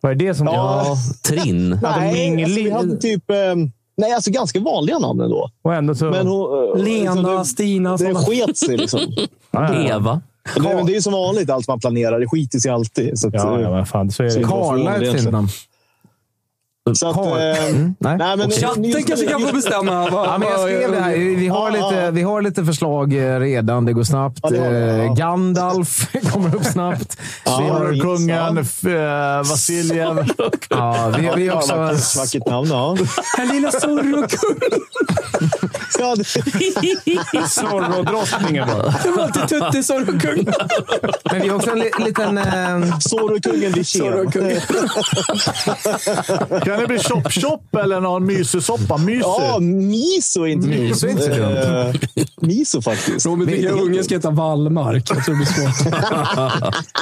D: vad är det som...
F: Ja.
B: Trinn.
F: Nej, alltså, vi
D: Mingli-
F: hade typ... ehm, Nej, alltså ganska vanliga namn ändå.
D: Och ändå så...
F: Men hon, eh, liksom,
A: Lena,
F: det-
A: Stina,
F: Det
A: sådana.
F: sket sig liksom.
D: ja, ja.
B: Eva.
F: Det, men det är ju som vanligt, allt man planerar. Det skiter sig alltid. Så att,
D: Ja, ja,
F: eh,
D: men fan. Så är det.
E: Karla är ett fint namn.
B: Mm.
E: Mm.
F: så att,
D: Karl.
F: eh,
E: Nej.
F: nej, men,
A: Chatten kanske kan få bestämma. Vad,
E: Ja, men jag skrev det här. Vi har,
F: Ja,
E: lite,
F: ja.
E: vi har lite förslag eh, redan. Det går snabbt.
F: Ja, det har vi,
E: Eh,
F: ja.
E: Gandalf kommer upp snabbt. Vi har,
C: Kungen,
F: Ja.
C: f- eh, Vasiljev.
E: ja, vi, vi har
F: Ja,
E: också...
F: vackert, vackert namn, ja.
A: Här lilla Zorro-kungen.
F: ja det,
D: Zorro-drottningen bara.
A: Det var alltid Tutte Zorro-kungen.
E: Men vi har också en li, liten... Eh,
F: Zorro-kungen Dichén.
A: Zorro-kungen.
C: Kan det bli chop-chop eller någon mysesoppa? Mysi?
F: Ja, miso är inte
E: Miso är inte så dumt.
F: Eh, miso faktiskt.
A: Robin, vilka unge ska heta Wallmark? Jag tror det blir svårt.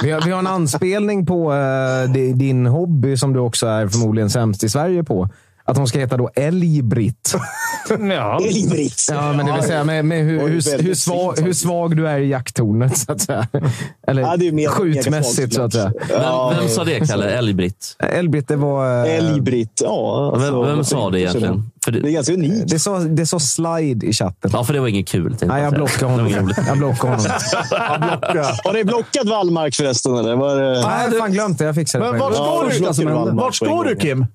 E: vi, har, vi har en anspelning på eh, di- din hobby som du också är förmodligen sämst i Sverige på. Att hon ska heta då Älgbritt.
D: Ja.
F: Elbritt.
E: Ja, men det vill säga med, med hur,
F: Oj,
E: hur,
F: väldigt
E: hur, svag,
F: fint.
E: hur svag du är i jakttornet, så att säga. Eller
F: Ja, det är mer-
E: skjutmässigt, så att säga.
B: Vem,
F: Ja.
B: vem sa det, Kalle? Älgbritt?
E: Älgbritt, det var... eh,
F: Älgbritt. Ja,
B: Vem,
F: alltså,
B: vem sa det egentligen? För
F: Det är
B: det,
F: ganska unikt.
E: Det sa, det sa slide i chatten.
B: ja, för det var inget kul. tänkte
E: Nej, jag
B: säga.
E: blockar honom.
B: Det var inget roligt.
E: Jag blockar honom.
F: Har ni blockat Wallmark förresten? Eller? Var, det-
E: Nej, jag hade fan glömt det. Jag fixade det.
C: Men
E: på en
C: vart
E: gång.
C: ska
F: Ja,
C: du?
F: första som hände.
C: Vart ska du, Kim?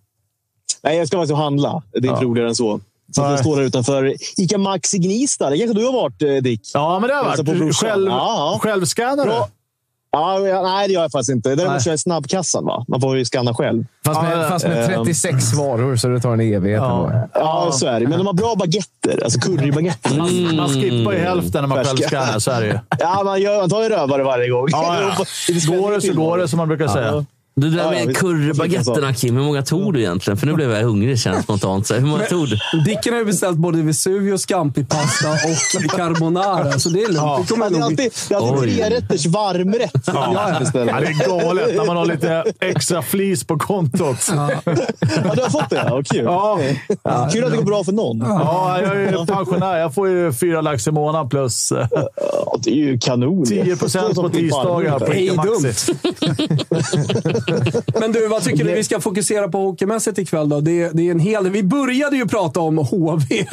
F: Nej, jag ska faktiskt handla. Det är inte roligare än så. Så att jag står här utanför Ica Maxi Gnista. Det kanske du har varit, eh, Dick?
C: Ja, men det har
F: Hälsa på
C: varit.
F: brorsan.
C: Själv,
F: Ja, ja.
C: Självskannar du?
F: Bra. Ja, ja, nej, det gör jag faktiskt inte. Däremot kör jag snabbkassan. Va? Man får ju skanna själv.
E: Fast med,
C: Ja,
E: fast med
F: ehm.
E: 36 varor, så det tar en evighet. ändå.
F: Ja, så är det. Men de har bra baguetter. Alltså currybaguetter.
C: Man, man skippar ju
B: Mm.
C: hälften när man
F: Färska.
C: självskannar, så är det ju.
F: Ja, man, gör, man tar ju rövare varje gång.
C: Ja, ja. Går det så går det, som man brukar säga.
B: Du, det där
F: Ja, ja,
B: med
F: visst.
B: currybaguetterna, Kim. Hur många tog du egentligen? För nu blev jag hungrig känns spontant. Så, hur många tog du?
A: Dicken har ju beställt både Vesuvius, Scampi-pasta och carbonara, så det är lugnt. Det kommer
F: Men det är
A: nog bli...
F: alltid, det är alltid
B: Oj.
F: tre rätters varmrätt. Ja.
C: Ja, det är galet när man har lite extra flis på kontot.
F: Ja, du har fått det? Ja, vad kul.
C: Ja.
F: Kul att det går bra för någon.
C: Ja, jag är ju pensionär. Jag får ju fyra lax i månaden plus eh,
F: Ja, det är ju kanon.
C: 10
F: Så
C: procent på
F: som Filip Palme.
C: tisdagar på
A: Det är
C: Ica
A: ju
C: Maxi.
A: Men du, vad tycker du vi ska fokusera på hockeymässigt ikväll då? Det, det är en hel Vi började ju prata om HV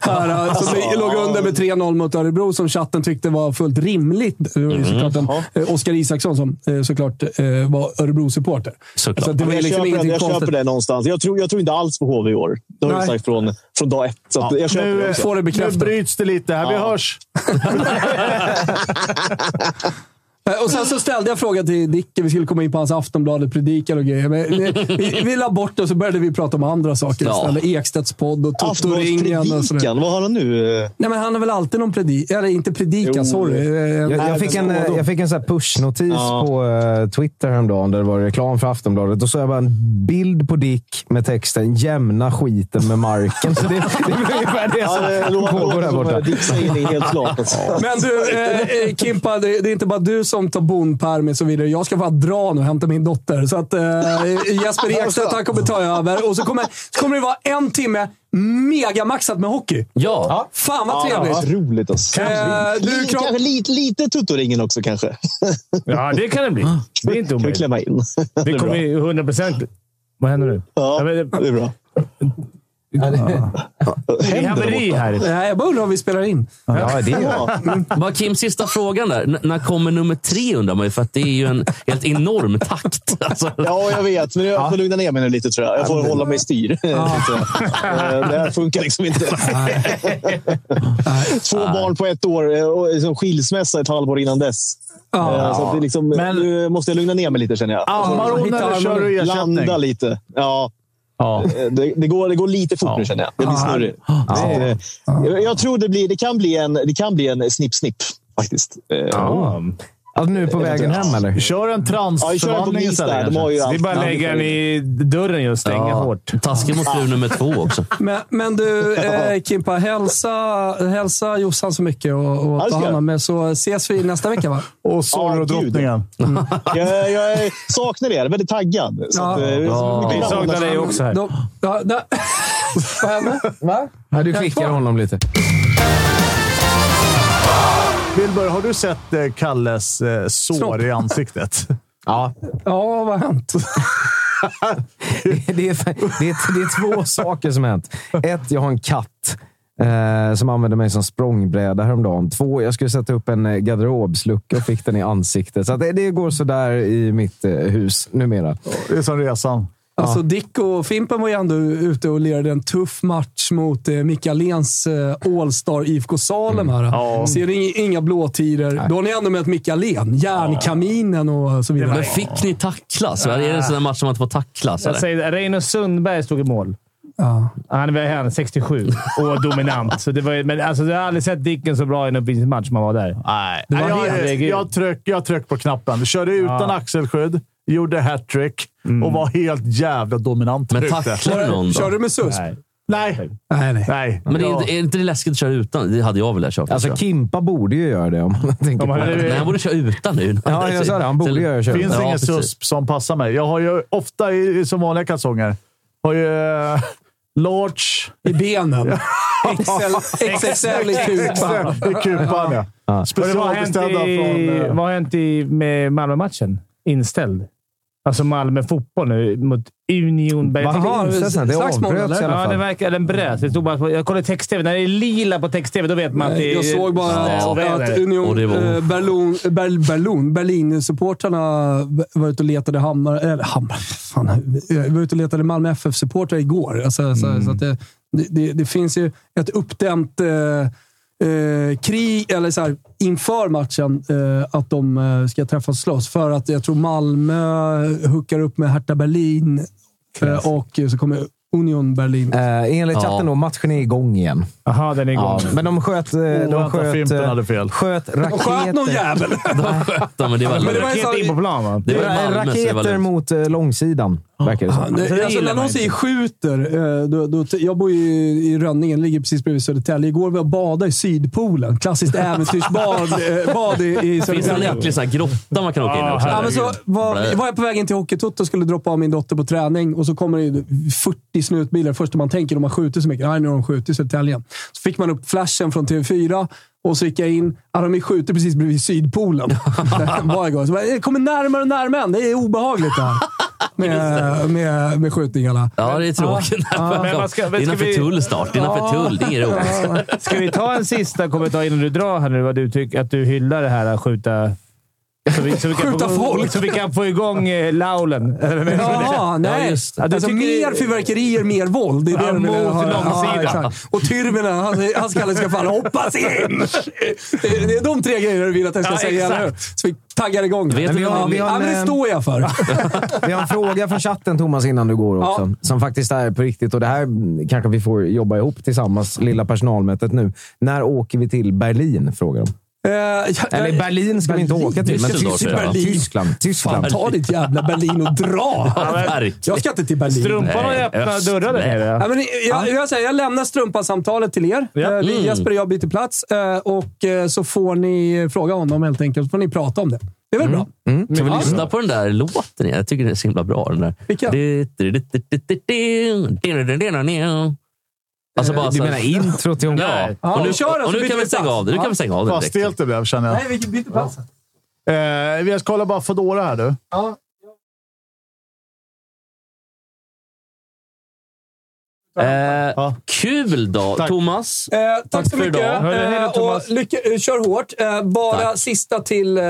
A: här, eh, som vi låg under med 3-0 mot Örebro, som chatten tyckte var fullt rimligt. Det var ju såklart en, eh, Oskar Isaksson som eh, såklart eh, var Örebro-supporter.
B: Såklart.
A: Så att det var
F: jag
A: liksom
F: köper,
A: ingenting
F: jag köper
A: konstigt.
F: det någonstans. Jag tror, jag tror inte alls på HV i år. Det har jag
A: Nej.
F: sagt från, från dag ett. Så att jag köper det
C: Nu,
F: också.
A: Får det
C: nu
A: bekräftat.
C: bryts det lite här. Vi
F: Ja.
C: hörs!
A: Eh, Och sen så ställde jag frågan till Dicke. Vi skulle komma in på hans Aftonbladet-predikar och grejer. Men vi, vi, vi la bort det och så började vi prata om andra saker
B: Ja.
A: istället. Ekstedts podd och Toto-ringen och sådär.
F: Aftonbladspredikan, vad har han nu? Eh,
A: Nej, men han har väl alltid någon predik... Eller inte predikan,
F: Jo.
A: sorry. Eh,
E: Jag, jag, fick en, eh, jag fick en sån här pushnotis
F: Ja.
E: på eh, Twitter häromdagen där det var reklam för Aftonbladet. Då såg jag bara en bild på Dick med texten “Jämna skiten med marken”. Så det, det var ungefär det
F: Ja, det
E: som
F: låter
E: pågår där
F: som
E: borta.
F: en dicksägning, helt klart. Alltså.
A: Men du, eh, eh, Kimpa, det, det är inte bara du som tar bonperm och så vidare. Jag ska bara dra nu och hämta min dotter. Så att, eh, Jesper Ekstedt han kommer ta över. Och så kommer, så kommer det vara en timme megamaxat med hockey.
B: Ja.
A: Fan vad trevligt!
F: Roligt alltså.
A: Eh, du,
F: Lite-
A: kram-
F: kanske lite, lite tuttoringen också kanske.
D: Ja, det kan det bli.
F: Ah.
D: Det är inte
F: Kan vi
D: omöjligt.
F: klämma in.
D: Vi kommer ju 100 procent... Vad händer nu?
F: Ja,
D: Ja, men
F: det
D: det-
F: är bra.
D: Det är haveri här.
A: Nej, jag bara undrar om vi spelar in.
E: Ja, det är
F: Ja,
B: Bara Kim, sista frågan där. N- när kommer nummer tre undrar man ju, för att det är ju en helt enorm takt. Alltså.
F: ja, jag vet. Men jag får lugna ner mig nu lite tror jag. Jag får hålla mig i styr. Så, eh, Det här funkar liksom inte. Två barn på ett år eh, och liksom skilsmässa ett halvår innan dess. Eh, Så att det liksom,
C: Men-
F: Nu måste jag lugna ner mig lite känner jag. Alltså,
C: Ammar hon
A: Hitta
C: eller kör du ersättning?
F: Landa lite. Ja,
C: Ja.
F: eh, det, det, går, det går lite fort nu känner jag. Det blir snurrigt. Så att, eh, jag- Jag tror det, blir, det, kan bli en, det kan bli en snipp-snipp faktiskt. Eh,
E: Alltså, nu på vägen hem, eller?
C: Kör en transförvandling
F: Ja, kör en på
C: istället.
F: Insta. De har ju
C: kanske.
F: allt.
D: Vi bara lägger den i dörren just. Stänga hårt.
B: Taskigt mot fru nummer två också.
A: Men, men du, eh, Kimpa, hälsa, hälsa Jossan så mycket och,
F: Ja,
A: och
F: det
A: ta
F: ska
A: hand
F: jag.
A: om er, så ses vi nästa vecka va?
C: Och
F: Ja,
C: Zorro-drottningen.
F: Jag, jag saknar er. Väldigt taggad. Så
A: Ja.
F: att, eh,
B: Ja.
D: Vi saknar dig också här.
A: Då, ja, där. Vad hände? Va?
E: Ja, du klickar honom lite.
C: Wilbur, har du sett eh, Kalles eh,
A: Snopp.
C: sår i ansiktet?
E: Ja,
A: Ja, vad har hänt?
E: det, är, det, är, det är två saker som hänt. Ett, jag har en katt eh, som använde mig som språngbräda häromdagen. Två, jag skulle sätta upp en eh, garderobslucka och fick den i ansiktet. Så att det, det går sådär i mitt eh, hus numera.
C: Det är som resan.
A: Alltså, Dick och Fimpen var ju ändå ute och lirade en tuff match mot eh, Mikael Lens eh, All-Star IFK Salem. Här. Ser ni inga blåtider. Då har ni ändå mött Mikael Len. Järnkaminen och så vidare.
B: Men fick ni tacklas? Är det en sån där match som man inte får tacklas?
D: Jag
B: Eller?
D: säger, Reino Sundberg stod i mål.
A: Ja.
D: Han var här 67 och dominant. Så det var, ju- men alltså, jag har aldrig sett Dicken så bra i en uppvisningsmatch man var där.
C: Nej.
D: var
C: Nej,
D: det.
C: jag, jag, tryck, jag tryck på knappen. Körde utan axelskydd, gjorde hattrick
D: Mm.
C: och var helt jävla dominant.
B: Men
C: där ute.
B: tacklar du någon
A: Kör
B: då?
A: du med SUSP?
D: Nej.
C: Nej,
A: Nej, nej.
C: nej.
B: Men det
C: Ja.
B: är, är inte det läskigt att köra utan? Det hade jag velat köra.
E: Alltså, Kimpa borde ju göra det om man tänker
D: Om
E: på
D: han
E: det.
D: hade-
B: Nej, han borde köra utan nu.
E: Ja, jag sa det. Han borde göra
C: finns
E: det.
B: Ja,
C: ingen
B: precis.
C: susp som passar mig. Jag har ju ofta, i, som vanliga kalsonger, har ju eh, large...
A: I benen. XL, XXL i kupan.
C: I kupan, ja.
D: Vad har hänt
C: Specialbeställda
D: i,
C: från... eh,
D: vad har hänt i, med Malmö-matchen? Inställd. Alltså Malmö fotboll nu mot Union Berlin.
A: Jaha,
E: Vad finns det? Det
A: slagsmål,
E: avbröts i
A: eller?
E: alla
D: Ja, det
E: fall.
D: verkar, den bröts. Det stod bara på, jag kollade text-tv. När det är lila på text-tv, då vet man att det är...
A: Jag såg bara
D: Ja,
A: att,
D: väder.
A: att Union,
B: Och det var-
A: eh, Berlin, Ber, Berlin, Berlin-supportrarna var ute och letade hammar, eller hammar, fan, eh, var ute och letade Malmö FF-supportrar igår. Alltså, så, så att det, det- det, det finns ju ett uppdämt eh, eh, krig, eller så här, inför matchen, eh, att de eh, ska träffas och slåss. För att jag tror Malmö hookar upp med Hertha Berlin eh, och så kommer Union Berlin.
E: Eh, enligt chatten då, matchen är igång igen.
D: Jaha, den är igång.
E: Ja, men de sköt... eh, De
C: vänta,
E: sköt,
C: Fimpen
E: eh,
C: hade fel.
E: sköt
A: Och sköt någon
E: raketer.
A: jävel!
B: Ja, men det var,
A: Men det var-
D: Raket in på plan, va?
B: det var i Malmö, så det var
E: Raketer
B: lugnt.
E: mot eh, långsidan. verkar det som.
A: Nej,
D: det
A: alltså,
D: gillar
A: när
D: man
A: någon säger skjuter, eh, då, då, jag bor ju i Rönningen, ligger precis bredvid Södertälje. Igår var jag och badade i Sydpoolen. Klassiskt äventyrsbad eh, bad i, i
B: Finns det en
A: Södertälje.
B: äcklig sån här grotta man kan åka in i också?
A: Ja, men så var, var jag på väg in till Hockeytoto och skulle droppa av min dotter på träning och så kommer det ju 40 snutbilar. Första man tänker, de har skjutit så mycket. Nej, nu har de skjutit i Södertälje. Så fick man upp flashen från TV4 och så gick jag in. Ja, de skjuter precis bredvid Sydpolen. Där var jag igår. Så bara, det kommer närmare och närmare. än. Det är obehagligt det här. Med, med, med skjutningarna.
B: Ja, det är tråkigt.
D: Men vad ska-
B: det
D: men
B: är
D: ska
B: innanför
D: vi-
B: tull snart. Det är innanför tull. Det är inget roligt.
D: Ska vi ta en sista kommentar innan du drar här nu? Vad du tycker att du hyllar det här att skjuta... Så vi, så vi kan
A: Skjuta
D: få,
A: folk!
D: Så vi kan få igång eh, laulen. Eller vad-
A: Jaha, nej.
B: Ja, just det.
A: alltså,
D: Jag tycker-
A: mer fyrverkerier, mer våld. Det är det
D: Ja,
A: de vill
D: mot
A: ha.
D: långsidan.
A: exakt. och Tyrvinen, han, han ska, ska fan hoppas in! Det är, det är de tre grejerna du vill att jag ska
D: Ja,
A: säga,
D: exakt.
A: eller hur? Så vi taggar igång.
B: Vet
A: Men
B: du
A: ja,
E: vad-
A: vi-
E: vi har
A: ja,
E: en,
A: men det
E: eh,
A: står jag för.
E: Vi har en fråga från chatten, Thomas, innan du går också. Som faktiskt är på riktigt. Och det här kanske vi får jobba ihop tillsammans, lilla personalmötet nu. När åker vi till Berlin? Frågar de.
A: Eh, jag-
E: Eller
A: jag-
E: Berlin ska vi inte åka till. Men
B: Düsseldorf,
E: Tyskland.
B: ja.
E: Tyskland. Tyskland.
A: Fan, ta ditt jävla Berlin och dra!
B: Ja, verkligen.
A: jag ska inte till Berlin.
D: Strumpan har ju
B: Nej,
D: öppna
B: öst,
D: dörrar där
B: nej.
D: nere.
A: Ja, men jag, jag, säger, jag lämnar strumpansamtalet till er.
D: Ja.
A: Eh, Det är
B: Mm.
A: Jesper och jag byter plats eh, och eh, så får ni fråga honom helt enkelt. Så får ni prata om det. Det är väl bra?
B: Ska vi lyssna på den där låten igen? Jag tycker den är så himla bra. Den där.
A: Vilken?
B: Alltså
A: Eh,
B: bara
E: Du
B: så här-
E: menar intro till
B: Ja.
E: Ungarn?
A: Ja,
B: Och nu,
A: vi kör den,
B: och
A: så
B: nu
A: byter
B: kan
A: vi
B: vi stänga
A: plats.
B: av det. Nu
A: Ja.
B: kan vi stänga av det
C: Vad
B: direkt.
C: stelt det blev, känner jag.
A: vi byter plats.
C: Eh, vi ska kolla bara Foodora här du.
B: Eh,
C: Ja.
B: kul då,
C: Tack.
B: Thomas.
A: Eh, tack,
B: Tack
A: så
B: för
A: mycket.
B: idag.
D: Hej då, hej då,
A: Eh, och
D: Thomas.
A: lycka, eh, kör hårt. Eh, bara
B: Tack.
A: sista till eh,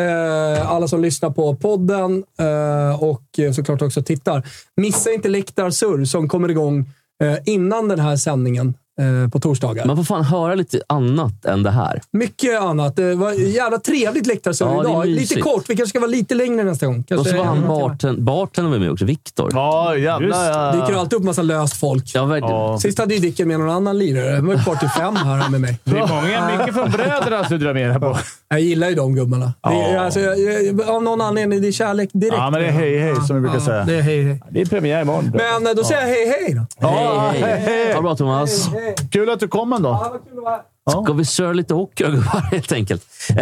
A: eh, alla som lyssnar på podden eh, och eh, såklart också tittar. Missa inte Läktarsurr som kommer igång eh, innan den här sändningen eh, på torsdagar.
B: Man får fan höra lite annat än det här.
A: Mycket annat. Det var jävla trevligt Läktarsurr
B: Ja, det är
A: idag. Lite
B: mysigt.
A: kort. Vi kanske ska vara lite längre nästa gång.
B: Och
A: Kanske
B: så var
A: en
B: han
A: timme.
B: barten, bartendern med mig också, Viktor. Ja.
C: Ja, jävlar.
A: Det
C: ja.
A: dyker alltid upp massa löst folk.
B: verkligen.
C: Ja.
A: Sist hade ju Dicken med någon annan lirare. Det var ju kvar till fem här med mig.
D: Det är många, mycket från bröderna som du drar med dig på.
A: Jag gillar ju de gubbarna. Det,
C: Ja.
A: alltså, jag, jag, av någon anledning, det är kärlek direkt.
C: Ja, men det är hej hej som vi brukar säga.
A: Det är hej, hej.
D: Det är premiär imorgon.
A: Men eh, då säger jag hej, hej då.
C: Ja,
B: Hej, hej. Ha det bra, Thomas.
C: Kul att du kom ändå.
B: Ska vi köra lite hockey, gubbar, helt enkelt? Eh,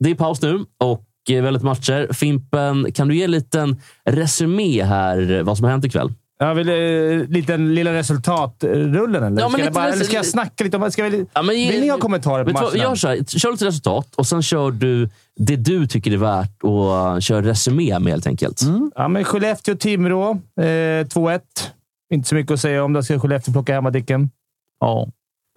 B: det är paus nu och eh, väldigt matcher. Fimpen, kan du ge en liten resumé här, eh, vad som har hänt ikväll?
D: Jag vill eh, liten lilla resultatrullen, eller?
B: Ja, men
D: ska,
B: lite
D: jag bara,
B: res-
D: eller ska jag snacka lite om... Ska vi,
B: Ja, men ge-
D: vill ni ha kommentarer på
B: Vet du vad,
D: matchen?
B: Gör så här, kör lite resultat och sen kör du det du tycker är värt och eh, kör resumé med helt enkelt.
D: Ja, men Skellefteå-Timrå. Eh, 2-1. Inte så mycket att säga om. Där ska Skellefteå plocka hemma Dicken.
C: Ja.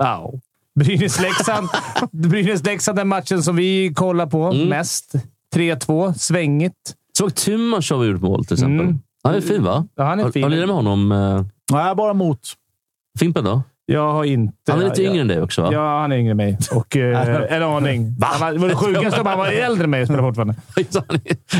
D: Wow. Brynäs-Leksand. Brynäs-Leksand, den matchen som vi kollar på
B: Mm.
D: mest. 3-2. Svängigt.
B: Såg Tuman som gjort mål till exempel.
D: Mm.
B: Han är fin va?
D: Ja, han är
B: Har-
D: fin.
B: Har du lirat med honom, eh,
C: Nej, bara mot.
B: Fimpen då?
D: Jag har inte...
B: Han är lite
D: jag,
B: yngre än dig också va?
D: Ja, han är yngre än mig. Och, eh, en aning. Han var, det var det sjukaste om han var äldre än mig och spelade fortfarande.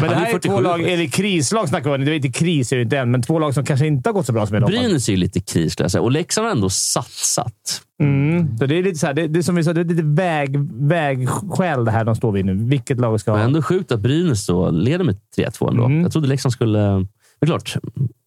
D: Men det här är två lag, eller krislag snackar vi om. Det är inte kris, är det inte än, men två lag som kanske inte har gått så bra som i Bryn...
B: Brynäs är ju lite kris skulle jag säga. Och Leksand har ändå satsat.
D: mm. Så det är lite så här, det, det är som vi sa, det är lite väg, vägskäl det här de står vid nu. Vilket lag ska
B: Men
D: ha?
B: ändå sjukt att Brynäs då leder med 3-2 ändå.
D: Mm.
B: Jag trodde Leksand skulle... Men klart,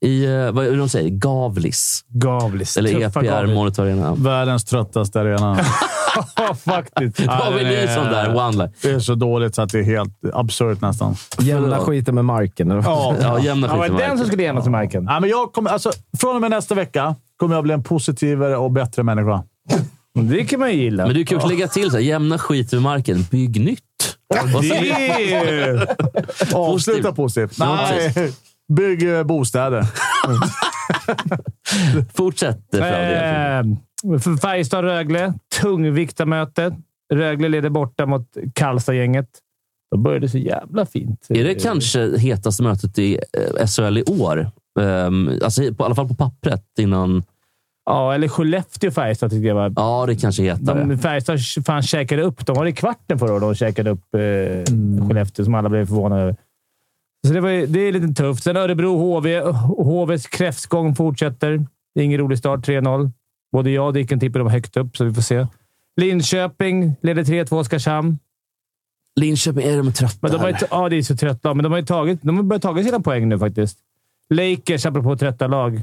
B: i, eh, vad är det de säger? Gavlis.
D: Gavlis.
B: Eller E
D: Tuffa
B: EPR
D: Gavlis.
B: Monitor Arena.
C: Världens tröttaste arena.
D: Ja, faktiskt.
C: Ja,
B: David
C: den är-
B: Nilsson där, one-line.
C: Det är så dåligt så att det är helt absurt nästan.
E: Jämna skiten med marken. Eller? vad?
B: Ja, jämna
D: Ja, var
B: skiten.
D: det den
B: Marcus.
D: som skulle jämnas i marken?
C: Nej, men jag kommer, alltså, från och med nästa vecka kommer jag bli en positivare och bättre människa.
D: Det kan man ju gilla.
B: Men du kan ju också lägga till så här, jämna skiten med marken, bygg nytt. Och
D: Det
B: sen,
D: är ju...
C: Avsluta positivt. Nej, bygg eh, bostäder.
B: fortsätt för all del.
D: Eh, för Färjestad-Rögle. Tungviktarmöte. Rögle leder borta mot Karlstad-gänget. Då började det så jävla fint.
B: Är det kanske hetaste mötet i eh, SHL i år? Um, alltså, i på, I alla fall på pappret innan...
D: Ja, eller Skellefteå-Färjestad tyckte jag var...
B: Ja, det kanske är hetare.
D: De Färjestad fan käkade upp. De var i kvarten förra året och käkade upp eh, Skellefteå, som alla blev förvånade över. Så det, var, ju- det är lite tufft. Sen Örebro-HV. HVs kräftgång fortsätter. Det är ingen rolig start. 3-0. Både jag och Dicken tippar dem högt upp, så vi får se. Linköping leder 3-2 Oskarshamn.
B: Linköping, är de trötta?
D: Men de har ju,
B: eller?
D: ja, det är så trött lag, men de har ju tagit, de har börjat tagit sina poäng nu faktiskt. Lakers, apropå trötta lag.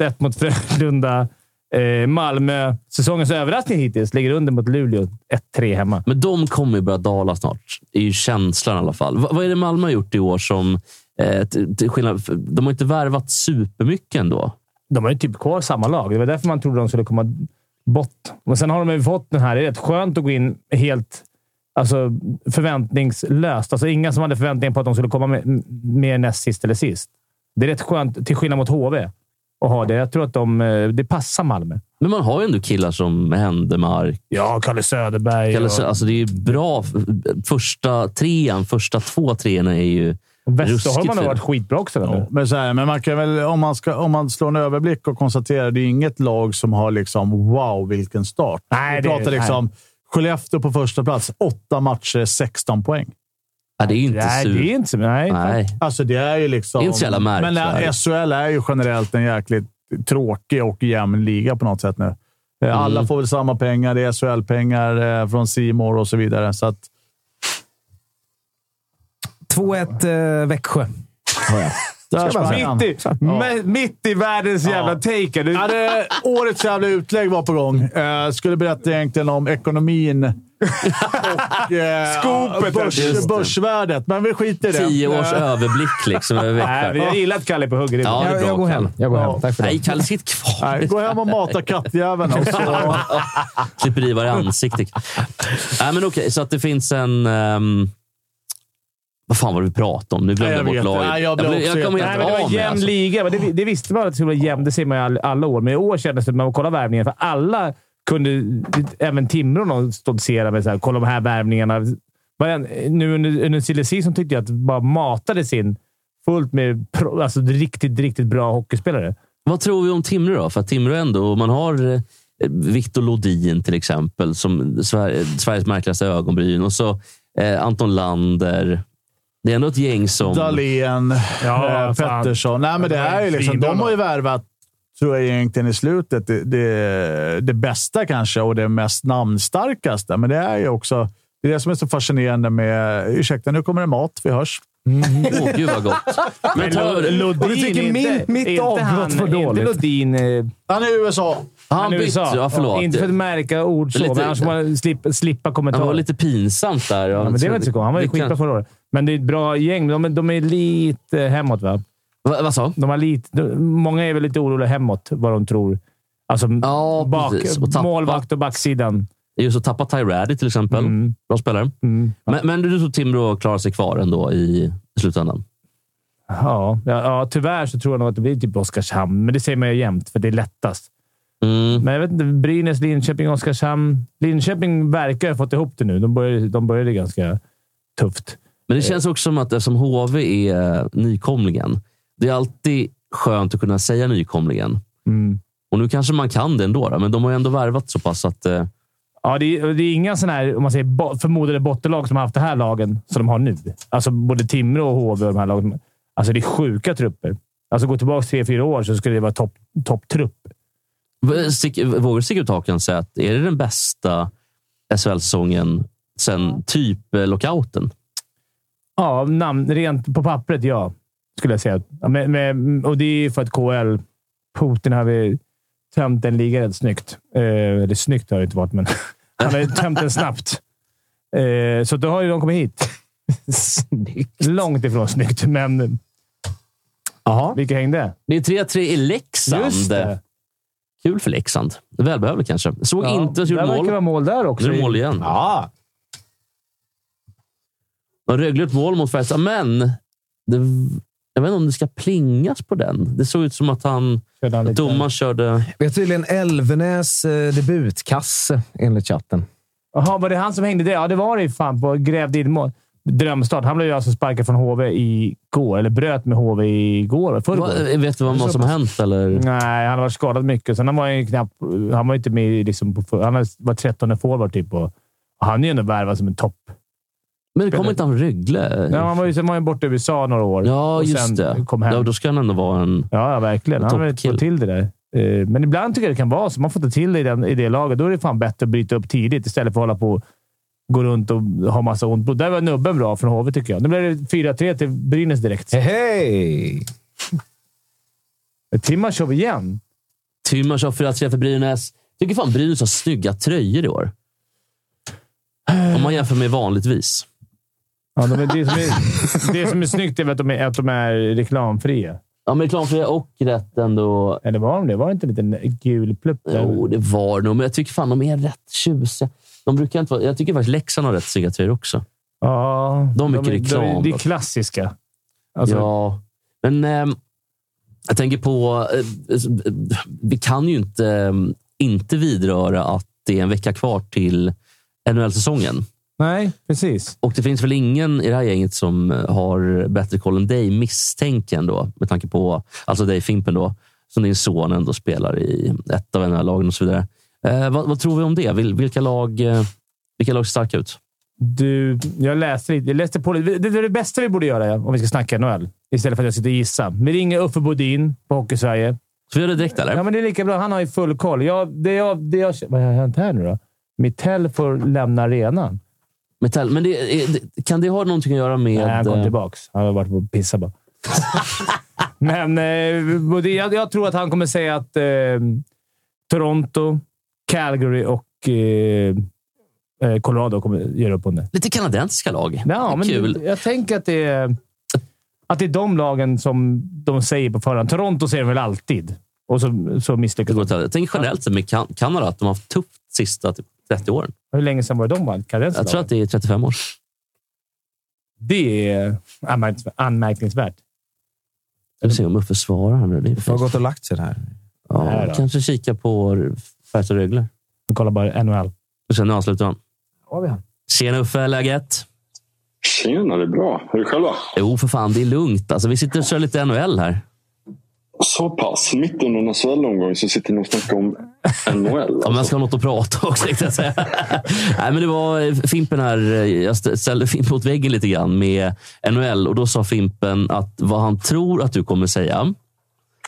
D: 1-1 mot Frölunda. Eh, Malmö. Säsongens överraskning hittills. Ligger under mot Luleå. 1-3 hemma.
B: Men de kommer ju börja dala snart. Det är ju känslan i alla fall. Va, vad är det Malmö har gjort i år som... Eh, till, till skillnad, de har inte värvat supermycket ändå.
D: De har ju typ kvar samma lag. Det var därför man trodde de skulle komma bort. Men sen har de ju fått den här. Det är rätt skönt att gå in helt alltså, förväntningslöst. Alltså, ingen som hade förväntningar på att de skulle komma med, med näst sist eller sist. Det är rätt skönt, till skillnad mot HV, att ha det. Jag tror att de, eh, det passar Malmö.
B: Men man har ju ändå killar som Händemark.
D: Ja, Kalle Söderberg.
B: Kalle Sö- Alltså det är ju bra. f- Första trean, första två treorna är ju
D: och Westerholm
B: ruskigt
D: har nog
B: fina.
D: varit skitbra också. eller?
C: Men, så här, men man kan väl, om, man ska, om man slår en överblick och konstaterar det är inget lag som har liksom wow, vilken start.
D: Nej,
C: Vi
D: det-
C: pratar liksom Skellefteå på första plats. Åtta matcher, 16 poäng.
B: Ja, det är ju inte
D: Nej,
B: super.
D: det är inte så. Nej.
B: Nej.
C: Alltså det är ju liksom...
B: Det är inte så jävla märkligt.
C: Men eh, SHL är ju generellt en jäkligt tråkig och jämn liga på något sätt nu. Eh, Alla
B: Mm.
C: får väl samma pengar. Det är SHL-pengar eh, från C More och så vidare. Så att,
E: 2-1 eh, Växjö.
C: där
E: man
C: sprang han.
D: Mitt i, me- mitt i världens jävla take. Du,
C: Ja, det, årets jävla utlägg var på gång. Eh, skulle berätta egentligen om ekonomin och eh,
D: Skopet, just
C: börs,
D: det.
C: börsvärdet, men vi skiter i det.
B: Tio års
C: Eh,
B: överblick liksom över
D: Nej,
B: veckan.
D: men jag gillar att Kalle är på hugget.
B: Ja, det är
E: jag,
B: bra,
E: jag går hem. Jag går hem. Tack för
B: Nej,
E: det.
B: Kalle sitt kvar.
C: nej, gå hem och mata kattjäveln. och så-
B: Klipper i varje ansikte. Nej, men okej, så att det finns en... ehm, vad fan var det vi pratade om? Nu glömde jag
C: Nej, jag
B: bort
C: vet.
B: laget.
C: Nej, jag blev
B: jag
C: också
B: kommer
C: jätte-
B: helt
D: Nej, men det var
B: av
D: en
B: mig.
D: jämn
B: Alltså.
D: liga. men Det, det visste man att det skulle vara jämn. Det ser man ju all, alla år. Men i år kändes det, när man kollar värvningen, för alla kunde, även Timrå, någon stoltsera med så här, kolla de här värvningarna. Varenda- Nu under, under silly season tyckte jag att det bara matades in fullt med pro, alltså, riktigt, riktigt bra hockeyspelare.
B: Vad tror vi om Timrå då? För att Timrå ändå, man har eh, Victor Lodin till exempel, som Sver- Sveriges märkligaste ögonbryn. Och så eh, Anton Lander. Det är ändå ett gäng som...
C: Dahlén,
D: Ja,
C: eh,
D: fan.
C: Pettersson. Nej, men det
D: Det var
C: är ju
D: ju
C: liksom,
D: svinbra
C: de har ju värvat, tror jag egentligen i slutet, det, det, det bästa kanske och det mest namnstarkaste. Men det är ju också det, är det som är så fascinerande med... Ursäkta, nu kommer det mat. Vi hörs.
B: Åh, gud vad gott. Men ta,
E: Och du tycker min- mitt
D: inte
E: avbrott
D: han-
E: var dåligt?
D: Inte Lodin. eh,
C: Han är i USA.
B: han
D: i
B: bytte...
D: USA.
B: Ja, förlåt.
D: Inte för att märka ord så,
B: Lite-
D: men annars får man slippa, slippa
B: Det
D: kommentarer.
B: var lite pinsamt där.
D: Ja, men det var inte så konstigt. Han var ju
B: Det kan-
D: skitbra förra året. Men det är ett bra gäng. De, är- de är lite hemåt, va?
B: Va- Vad sa
D: De har lite, de, många är väl lite oroliga hemåt, vad de tror. Alltså,
B: Ja,
D: bak,
B: precis. Och tappa-
D: målvakt och backsidan.
B: Just att tappa Ty Raddy till exempel.
D: Mm.
B: Bra spelare.
D: Mm.
B: Men, men du tror Timrå klarar sig kvar ändå i i slutändan?
D: Ja, ja, ja, tyvärr så tror jag nog att det blir typ Oskarshamn, men det säger man ju jämt, för det är lättast.
B: Mm.
D: Men jag vet inte. Brynäs, Linköping, Oskarshamn. Linköping verkar ha fått ihop det nu. De började, de började ganska tufft.
B: Men det känns också som att eftersom HV är nykomlingen, det är alltid skönt att kunna säga nykomlingen.
D: Mm.
B: Och nu kanske man kan det ändå, då, men de har ju ändå värvat så pass att... Eh,
D: Ja, det är, det är inga sådana här, om man säger, bo- förmodade bottenlag som har haft det här lagen som de har nu. Alltså både Timrå och HV och de här lagen. Alltså det är sjuka trupper. Alltså gå tillbaka tre, fyra år så skulle det vara topp- topptrupp.
B: v- stick, vågar du sticka ut hakan och säga att är det den bästa SHL-säsongen sen typ eh, lockouten?
D: ja, namn, rent på pappret, ja. Skulle jag säga. Ja, men, men, och det är ju för att KL, Putin har vi tömt en liga rätt snyggt. Eh, eller snyggt har det inte varit, men han har ju tömt den snabbt. Eh, så då har ju de kommit hit. snyggt. Långt ifrån snyggt, men
E: Jaha.
D: vilka hängde?
B: Det är 3-3 i Leksand.
D: Just det.
B: Kul för Leksand. Välbehövligt kanske. Såg inte att
D: det
B: gjorde mål.
D: verkar vara mål där också.
B: Nu är det mål igen.
E: Ja.
B: De Rögle gjorde ett mål mot Färjestad, men det, jag vet inte om det ska plingas på den. Det såg ut som att han,
D: Körde han lite-
B: domaren körde...
E: Vi har tydligen Elvenäs eh, debutkasse, enligt chatten.
D: Jaha, var det han som hängde det? Ja, det var det ju fan på. Grävde in mål. Drömstart. Han blev ju alltså sparkad från HV igår, eller bröt med HV igår.
B: Va,
D: Förrgår.
B: vet du vad vad som har hänt? Eller?
D: Nej, han har varit skadad mycket. Sen han var ju knappt... Han var ju inte med i liksom, på, Han har- var 13 forward typ. Och, och han är ju ändå värvad som en topp.
B: Men det kommer inte han från Rögle?
D: Ja, han var ju, sen var han ju borta i USA några år.
B: Ja,
D: och
B: just
D: sen
B: det.
D: Kom hem.
B: Ja, då ska han ändå vara en...
D: Ja, ja verkligen. Han har
B: Toppkill.
D: fått till det där. Eh, Men ibland tycker jag det kan vara så. Man får ta till det i, den, i det laget. Då är det fan bättre att bryta upp tidigt istället för att hålla på och gå runt och ha
B: Eh.
D: massa ont blod. Där var nubben bra från HV, tycker jag. Nu blev det 4-3 till Brynäs direkt.
E: Hej!
D: Timashov igen.
B: Tymas har 4-3 för Brynäs. Tycker fan Brynäs har snygga tröjor i år. Om man jämför med vanligtvis.
D: Ja, de är, det, som är, det som är snyggt är väl att de är, att de är reklamfria.
B: Ja, men reklamfria och rätt ändå.
D: Eller var de det? Var det inte en liten gul plupp där?
B: Jo, det var nog, men jag tycker fan de är rätt tjusiga. De brukar inte vara, jag tycker faktiskt Leksand har rätt snygga tröjor också.
D: Ja,
B: De är mycket
D: de,
B: reklam
D: Det är
B: dock.
D: klassiska. Alltså,
B: Ja, men ehm, jag tänker på... eh, eh, vi kan ju inte, ehm, inte vidröra att det är en vecka kvar till NHL-säsongen.
D: Nej, precis.
B: Och det finns väl ingen i det här gänget som eh, har bättre koll än dig, misstänker jag ändå, med tanke på, alltså dig Fimpen då, som din son ändå spelar i ett av NHL-lagen och så vidare. Eh, vad, vad tror vi om det? Vil, vilka lag eh, vilka lag ser starka ut?
D: Du, jag läste lite. Jag läste på lite. Det, det är det bästa vi borde göra ja, om vi ska snacka NHL. Istället för att jag sitter och gissar. Vi ringer Uffe Bodin på Hockeysverige.
B: Så vi gör det direkt eller?
D: Ja, men det är lika bra. Han har ju full koll. Jag, det jag, det jag, vad har hänt här nu då? Mittell får lämna arenan.
B: Metall. Men det, är- det, kan det ha någonting att göra med...
D: Nej, han kom
B: eh,
D: tillbaka. Han har varit på pissa bara. Men eh, både- jag, jag tror att han kommer säga att eh, Toronto, Calgary och eh, eh, Colorado kommer göra upp om det.
B: Lite kanadensiska lag. Det
D: Ja,
B: är
D: men
B: Kul.
D: Jag tänker att det, är, att det är de lagen som de säger på förhand. Toronto säger de väl alltid. Och så, så
B: Det
D: misslyckas
B: går
D: de.
B: åt helvete. Tänk generellt sett med kan Kanada, att de har haft tufft sista typ 30 åren.
D: Hur länge sedan var det de vann? Kanadensiska
B: Jag tror
D: lagen?
B: att det är 35 år.
D: Det är anmärkningsvärt- anmärkningsvärt.
B: Jag ska se om Uffe svarar här nu. Det är
E: Jag har
B: fint.
E: gått och lagt sig här.
B: ja,
D: Nej då.
B: kanske kika på Färjestad Rögle.
D: Vi kollar bara NHL.
B: Och sen avslutar han.
E: Har vi han?
B: Tjena Uffe, läget?
G: Tjena, det är bra. Hur är det själva?
B: Jo, för fan. Det är lugnt. Alltså, vi sitter och kör lite NHL här.
G: Så pass. Mitt under en SHL-omgång så sitter ni och snackar om NHL.
B: Om jag ska ha något att prata också, tänkte jag säga. Nej, men det var eh, Fimpen här. Jag st- ställde Fimpen mot väggen lite grann med NHL och då sa Fimpen att vad han tror att du kommer säga.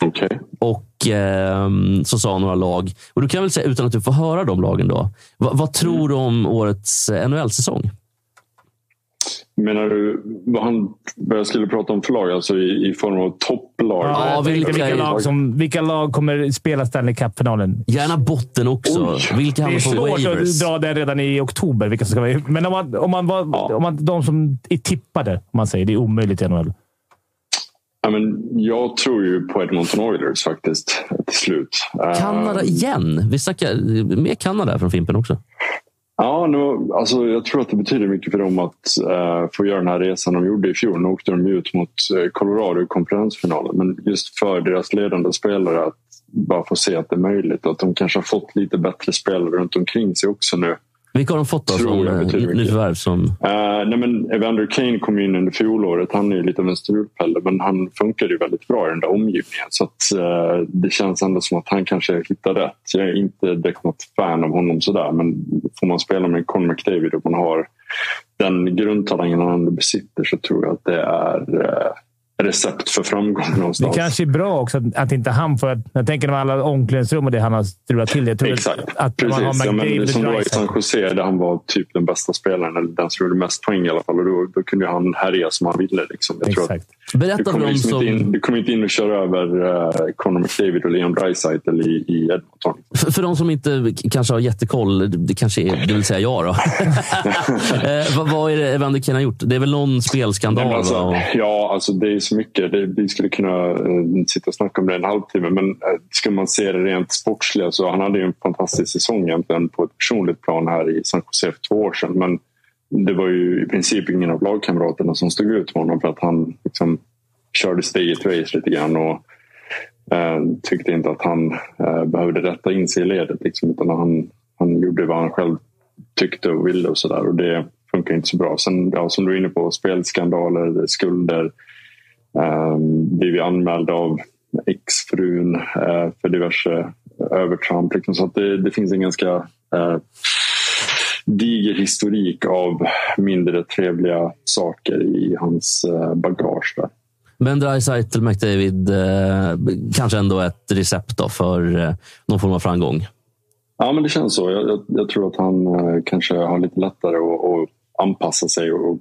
G: Okej.
B: Och ehm, så sa han några lag. Och du kan väl säga, utan att du får höra de lagen då. Va, vad tror du om årets eh, NHL-säsong?
G: Menar du vad, han, vad jag skulle prata om för lag? Alltså i, i form av topplag?
B: Ja,
D: jag
B: vilka-
D: tänkte vilka, lag som, vilka lag kommer spela Stanley Cup-finalen?
B: Gärna botten också.
G: Oj.
B: Vilka
D: Det är
B: hamnar på
D: svårt
B: waivers?
D: att dra den redan i oktober. Vilka som ska vara. Men om man, om man var, om man, de som är tippade, om man säger. Det är omöjligt i NHL.
G: Ja, men jag tror ju på Edmonton Oilers faktiskt till slut. Eh,
B: Kanada igen. Vi snackar eh, med Kanada från Fimpen också.
G: Ja, nu, alltså, jag tror att det betyder mycket för dem att eh, få göra den här resan de gjorde i fjol. Nu åkte de ju ut mot eh, Colorado i konferensfinalen. Men just för deras ledande spelare att bara få se att det är möjligt. Att de kanske har fått lite bättre spelare runt omkring sig också nu.
B: Vilka har de fått då
G: Tror
B: som
G: jag
B: eh,
G: betyder mycket.
B: nyförvärv? Som...
G: Eh, nej men Evander Kane kom ju in under fjolåret. Han är ju lite av en strulpelle men han funkade ju väldigt bra i den där omgivningen. Så att, eh, det känns ändå som att han kanske hittar rätt. Jag är inte direkt något fan av honom sådär men får man spela med Conor McDavid och man har den grundtalangen han ändå besitter så tror jag att det är eh, recept för framgång
D: Det
G: någonstans.
D: kanske är bra också att, att inte han får... Jag tänker med alla omklädningsrum och det han har strulat till. Jag tror
G: Exakt,
D: att, att
G: precis.
D: man har
G: ja, men,
D: McDavid
G: som det var i
D: Dreisaitl.
G: San Jose där han var typ den bästa spelaren, eller den som gjorde mest poäng i alla fall. Och då, då kunde ju han härja som han ville. Liksom. Jag tror att
D: Exakt.
G: Du
B: Berätta för
G: kommer,
B: dem
G: liksom inte in,
B: som,
G: du kommer inte in och köra över uh, Conor McDavid och Leon Draisaitl i, i Edmonton.
B: för, för de som inte k- kanske har jättekoll. Det kanske är, det vill säga jag då. eh, vad, vad är det Evander Kane har gjort? Det är väl någon
G: Nej,
B: spelskandal?
G: men alltså,
B: va? Och-
G: Ja, alltså det är så mycket. Det, vi skulle kunna eh, sitta och snacka om det en halvtimme. Men eh, ska man se det rent sportsliga så han hade ju en fantastisk säsong egentligen på ett personligt plan här i San Jose för två år sedan. Men det var ju i princip ingen av lagkamraterna som stod ut med honom för att han liksom körde steget race lite grann. Och, eh, tyckte inte att han eh, behövde rätta in sig i ledet. Liksom, utan han, han gjorde vad han själv tyckte och ville och sådär. Och det funkar inte så bra. Sen ja, som du är inne på, spelskandaler, skulder. Eh, blivit anmäld av exfrun eh, för diverse övertramp. Liksom. Så att det, det finns en ganska eh, diger historik av mindre trevliga saker i hans eh, bagage. Där.
B: Men Dreisaitl, McDavid, eh, kanske ändå ett recept då för eh, någon form av framgång.
G: Ja, men det känns så. Jag, jag, jag tror att han eh, kanske har lite lättare att, att anpassa sig och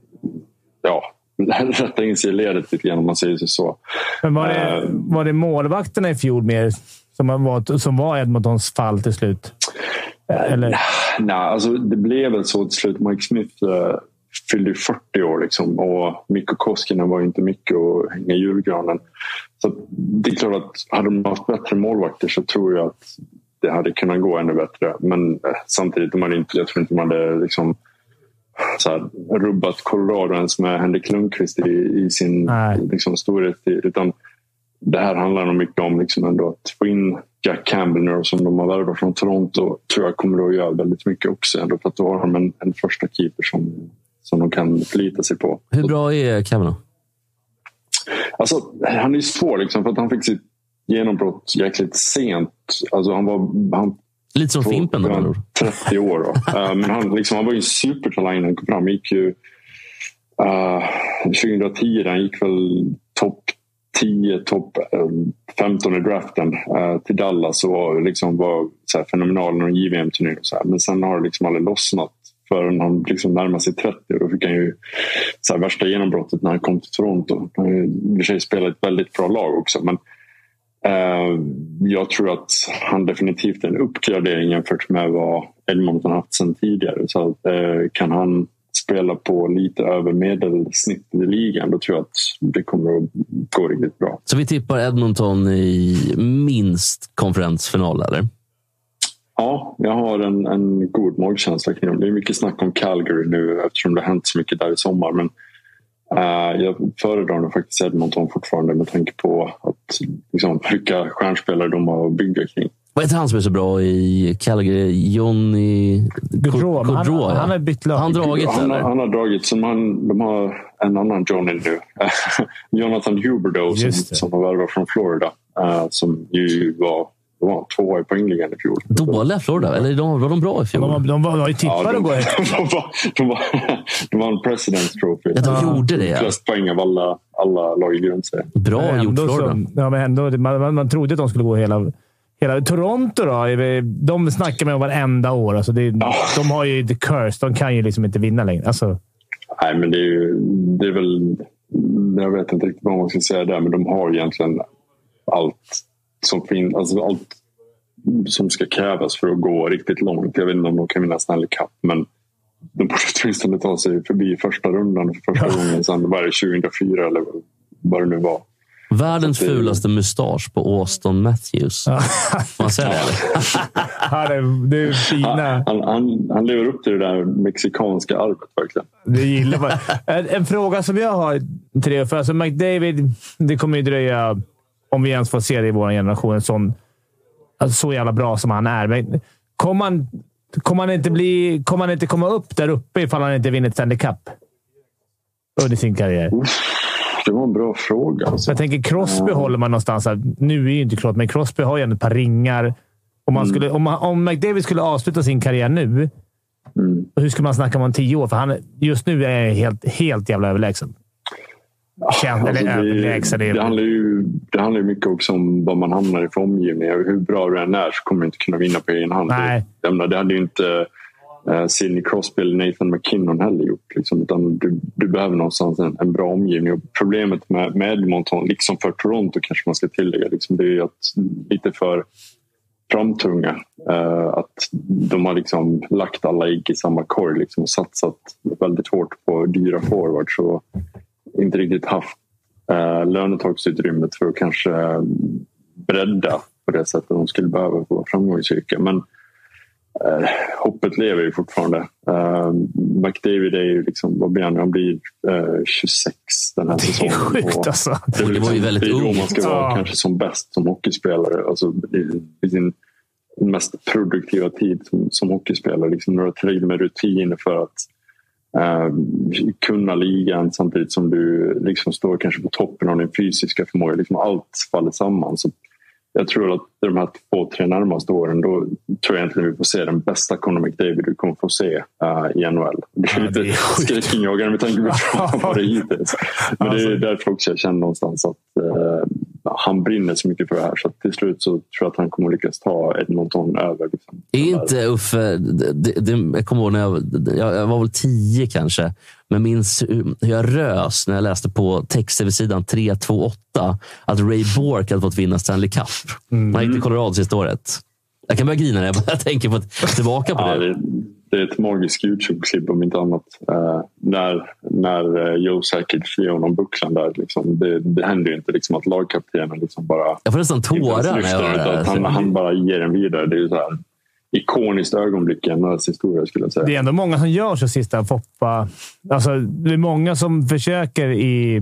G: ja, rätta in sig i ledet lite grann om man säger så.
D: Men var det,
G: Eh,
D: var det målvakterna i fjol mer som var, som var Edmontons fall till slut? Eller?
G: Nej, alltså det blev väl så till slut. Mike Smith eh, fyllde ju 40 år liksom, och Mikko Koskinen var ju inte mycket att hänga i julgranen. Så att det är klart att hade de haft bättre målvakter så tror jag att det hade kunnat gå ännu bättre. Men eh, samtidigt, de hade inte, jag tror inte de hade liksom, så här, rubbat Colorado ens med Henrik Lundqvist i, i sin
D: Nej.
G: liksom, storhetstid. Utan det här handlar nog mycket om liksom ändå att få in Jack Campbell nu då, som de har värvat från Toronto. tror jag kommer att göra väldigt mycket också. Ändå för att då har de en, en första keeper som, som de kan förlita sig på.
B: Hur bra är Kavanaugh?
G: Alltså, han är ju svår liksom, för att han fick sitt genombrott jäkligt sent. Alltså, han var, han
B: Lite som Fimpen då, med andra ord.
G: 30 år. Då. Eh, Men han, liksom, han var ju en supertalang när han kom fram. Han gick ju, eh, 2010 där han gick väl topp 10, topp eh, 15 i draften eh, till Dallas och var, liksom, var så här, fenomenal när de JVM-turnering. och så här. Men sen har det liksom aldrig lossnat förrän han liksom närmade sig 30. Och då fick han ju så här, värsta genombrottet när han kom till Toronto. Han har ju i och för sig spelat ett väldigt bra lag också. Men Eh, jag tror att han definitivt är en uppgradering jämfört med vad Edmonton haft sedan tidigare. Så att, eh, kan han spela på lite över medelsnittet i ligan då tror jag att det kommer att gå riktigt bra.
B: Så vi tippar Edmonton i minst konferensfinal, eller?
G: Ja, jag har en, en god magkänsla kring dem. Det är mycket snack om Calgary nu eftersom det har hänt så mycket där i sommar. Men eh, jag föredrar nog faktiskt Edmonton fortfarande med tanke på att, liksom, vilka stjärnspelare de har att bygga kring.
B: Vad heter han som är så bra i Calgary? Johnny...
D: Gaudreau, men han-
B: Gaudreau, ja.
D: han har bytt lag.
B: Han dragit,
G: han,
B: eller?
G: han har dragit. Som han, de har en annan Johnny nu. Jonathan Huberdeau som,
D: Just det.
G: som har värvat från Florida. eh, som ju var, var tvåa i poängligan i fjol.
B: Dåliga Florida? Eller de, var de bra i fjol?
D: De, var- de, var- de var ju tippade att
G: de,
D: gå
G: de,
D: högt.
G: var, de, var, de vann President's Trophy.
B: Ja, de gjorde det. ja.
G: Flest poäng av alla, alla lag i grundserien.
B: Bra gjort
D: Ändå
B: Florida.
D: så- ja, men ändå, man, man, man trodde att de skulle gå hela... hela Toronto då? är vi- De snackar med om varenda år. Alltså det, är- De har ju the curse. De kan ju liksom inte vinna längre. Alltså,
G: Nej, men det är, ju, det är väl... Jag vet inte riktigt vad man ska säga där, men de har egentligen allt som finns. Alltså allt som ska krävas för att gå riktigt långt. Jag vet inte om de kan vinna Stanley Cup, men de borde åtminstone ta sig förbi första rundan för första gången sedan var det 2004 eller vad det nu var.
B: Världens
G: det-
B: fulaste mustasch på Austin Matthews. Får Man säger det, eller?
D: ja, det, det är fina.
G: Han, han, han lever upp till det där mexikanska arvet verkligen.
D: Det gillar man. En, en fråga som jag har till dig. För alltså McDavid, det kommer ju dröja, om vi ens får se det i vår generation, en sån, alltså så jävla bra som han är. Men kommer han, kommer han, inte, bli, kommer han inte komma upp där uppe ifall han inte vinner ett Stanley Cup? Under sin karriär.
G: Det var en bra fråga. Alltså.
D: Jag tänker Crosby håller man någonstans. Här. Nu är ju inte klart, men Crosby har ju ändå ett par ringar. Om,
G: Mm.
D: man skulle, om, man, om McDavid skulle avsluta sin karriär nu,
G: Mm.
D: hur skulle man snacka om han tio år? För han, just nu är han helt, helt jävla överlägsen. Känd,
G: Alltså,
D: eller överlägsen.
G: det,
D: är-
G: det, handlar ju, det handlar ju mycket också om vad man hamnar i för omgivning. Hur bra du än är så kommer du inte kunna vinna på egen hand.
D: Nej.
G: Jag menar, det hade ju inte eh, Sidney Crosby eller Nathan McKinnon heller gjort. Liksom, utan du, du behöver någonstans en, en bra omgivning. Och problemet med, med Edmonton, liksom för Toronto kanske man ska tillägga, liksom, det är ju att lite för framtunga. Eh, att de har liksom lagt alla ägg i samma korg liksom, och satsat väldigt hårt på dyra forwards. Och, inte riktigt haft eh, lönetagsutrymmet för att kanske eh, bredda på det sättet de skulle behöva för att vara framgångsrika. Men eh, hoppet lever ju fortfarande. Eh, McDavid är ju liksom, vad blir han? Han blir eh, 26 den här
D: Det är
G: säsongen.
D: sjukt
G: Och-
D: alltså.
B: Och det var ju väldigt
G: det är då man
B: ungt.
G: ska vara
D: Ja.
G: kanske som bäst som hockeyspelare. Alltså, i, I sin mest produktiva tid som, som hockeyspelare. Liksom, när du har tillräckligt med rutiner för att eh, kunna ligan samtidigt som du liksom står kanske på toppen av din fysiska förmåga. Liksom, allt faller samman. Så jag tror att de här två, tre närmaste åren då tror jag egentligen vi får se den bästa Conor McDavid du kommer få se eh, i NHL. Det är lite Alltså- skräckinjagande med tanke på vad det hittills. Men det är därför också jag känner någonstans att eh, han brinner så mycket för det här så att till slut så tror jag att han kommer lyckas ta Edmonton över. Liksom.
B: Är inte Uffe... Det, det- det, jag kommer ihåg när jag, jag, jag var väl tio kanske, men minns hur hur jag rös när jag läste på text-tv-sidan 328 att Ray Bork hade fått vinna Stanley Cup.
G: Mm.
B: Han gick till Colorado sista året. Jag kan börja grina när jag bara tänker på tillbaka på
G: Ja,
B: det.
G: det, det är ett magiskt Youtube-klipp om inte annat. Eh, när när eh, Joe säkert flyr honom bucklan där. Liksom, det, det händer ju inte liksom, att lagkaptenen liksom bara...
B: Jag får nästan
G: inte
B: tårar
G: ens
B: när jag
G: lyfter,
B: hör det.
G: utan
B: här.
G: att han, Alltså, han bara ger den vidare. Det är ju så här ikoniskt ögonblick i NHLs historia skulle jag säga.
D: Det är ändå många som gör så sista Foppa. Alltså, det är många som försöker i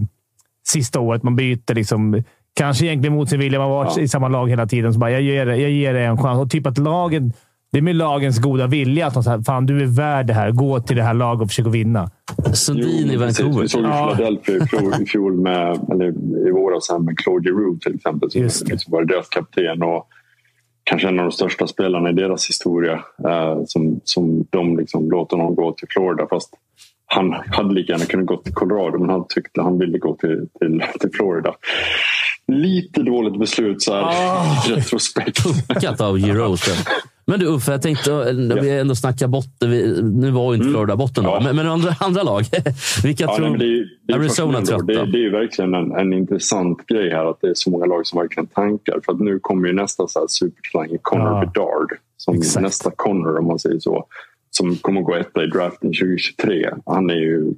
D: sista året. Man byter liksom. Kanske egentligen mot sin vilja. Man har varit
G: Ja.
D: i samma lag hela tiden. Så bara, jag ger det, jag ger det en chans. Och typ att lagen... Det är med lagens goda vilja att de säger fan du är värd det här. Gå till det här laget och försök att vinna.
B: Sundin i
G: Jo, precis.
B: Vancouver.
G: Vi såg ju
D: Ja.
G: Philadelphia i fjol, i fjol med, eller i våras här med Claude Giroux till exempel. Som
D: Just det.
G: liksom var deras kapten och kanske en av de största spelarna i deras historia. Eh, som, som de liksom låter honom gå till Florida. Fast han hade lika gärna kunnat gå till Colorado men han tyckte han ville gå till, till, till Florida. Lite dåligt beslut så här i retrospekt.
B: puckat av Euros. Men du Uffe, jag tänkte, när vi ändå snackar botten. Vi, nu var ju inte Florida botten då,
G: Mm. Ja.
B: men, men andra, andra lag. Vilka
G: Ja, nej,
B: tror...
G: men det är, ju- det är ju
B: Arizona
G: fascinerande.
B: trötta.
G: Det, det är ju verkligen en, en intressant grej här att det är så många lag som verkligen tankar. För att nu kommer ju nästa så här supertalang, Connor
D: Ja.
G: Bedard. Som
D: Exakt.
G: nästa Connor om man säger så. Som kommer gå etta i draften 2023. Han är ju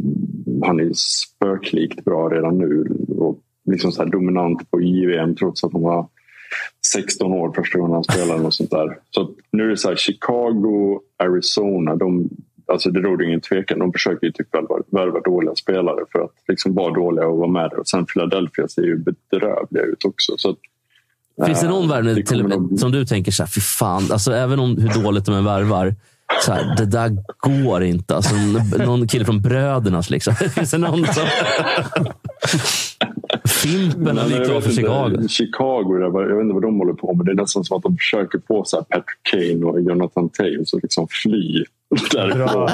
G: han är ju spöklikt bra redan nu. Och liksom så här dominant på JVM trots att han var 16 år första gången han spelade. Och sånt där. Så att nu är det så här, Chicago, Arizona. De, alltså det råder ingen tvekan. De försöker ju typ värva, värva dåliga spelare för att liksom vara dåliga och vara med där. Och sen Philadelphia ser ju bedrövliga ut också. Så att,
B: Finns det någon
G: eh,
B: värvning till och
G: kommer nog-
B: med, som du tänker så här, fy fan, alltså, även om hur dåligt de än värvar. Så här, det där går inte. Alltså, n- någon kille från Brödernas liksom. Finns det någon som... Fimpen hade
G: Nej,
B: ju
G: jag
B: klar
G: vet
B: för Chicago.
G: Inte, Chicago, det var, jag vet inte vad de håller på med. Det är nästan som att de försöker få så här Patrick Kane och Jonathan Taves att liksom fly därifrån.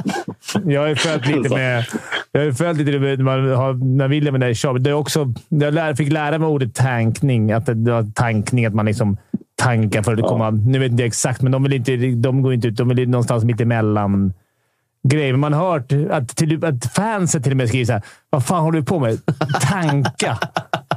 D: Bra. Jag har ju följt lite med... Jag har ju följt lite med, man har, när William är där i shop. Det är också, jag lär, fick lära mig ordet tankning. Att det, det var tankning, att man liksom tankar för att komma... Nu vet inte jag exakt, men de, vill inte, de går inte ut. De vill någonstans mitt emellan grejer. Men man har hört att, till, att fansen till och med skriver så här. Vad fan håller du på med? Tanka!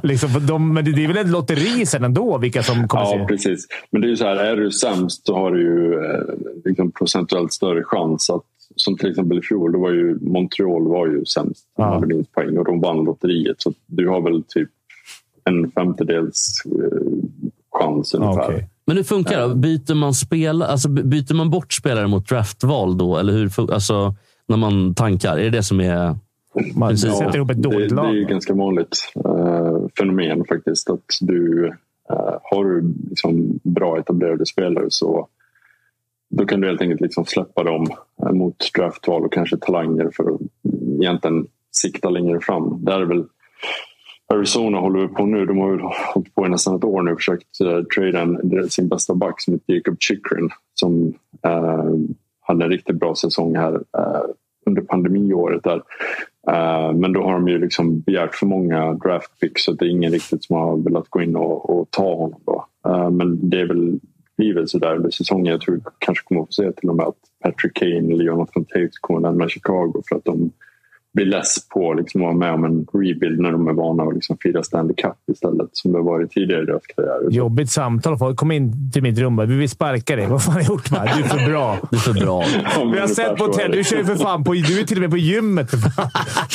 D: liksom, för de, men det, det är väl ett lotteri sen ändå, vilka som kommer
G: Ja,
D: se.
G: precis. Men det är ju så här, är du sämst så har du ju eh, liksom procentuellt större chans att som till exempel i fjol, då var ju Montreal var ju sämst. De
D: Ja.
G: hade minst poäng och de vann lotteriet. Så du har väl typ en femtedels eh, chans ungefär.
D: okej.
B: Men hur funkar det? Byter man, spel, alltså, by- byter man bort spelare mot draftval då? Eller hur, fun- alltså, när man tankar? Är det det som är...
D: Man
B: Precis.
D: sätter ihop ett dåligt
G: det,
D: lag.
G: Det är ju ett ganska vanligt eh, fenomen faktiskt. Att du eh, har du liksom bra etablerade spelare så då kan du helt enkelt liksom släppa dem eh, mot draftval och kanske talanger för att egentligen sikta längre fram. Där är väl Arizona håller vi på nu. De har väl hållit på i nästan ett år nu och försökt uh, trada en, deras- sin bästa back som heter Jacob Chikrin som eh, hade en riktigt bra säsong här eh, under pandemiåret. Där. Eh, men då har de ju liksom begärt för många draft picks så att det är ingen riktigt som har velat gå in och, och ta honom. Då. Eh, men det är väl livet sådär under säsongen. Jag tror vi kanske kommer att få se till och med att Patrick Kane eller Jonathan Taves kommer att lämna Chicago för att de blir less på liksom, att vara med om en rebuild när de är vana att liksom, fira Stanley Cup istället som det har varit tidigare i deras karriärer.
D: Jobbigt samtal. Folk kom in till mitt rum och bara, vi vill sparka dig. Vad fan har jag gjort med dig? Du är för bra.
B: Det är för bra.
D: Vi har sett på Ted. Du kör ju för fan på... Du är till och med på gymmet för fan.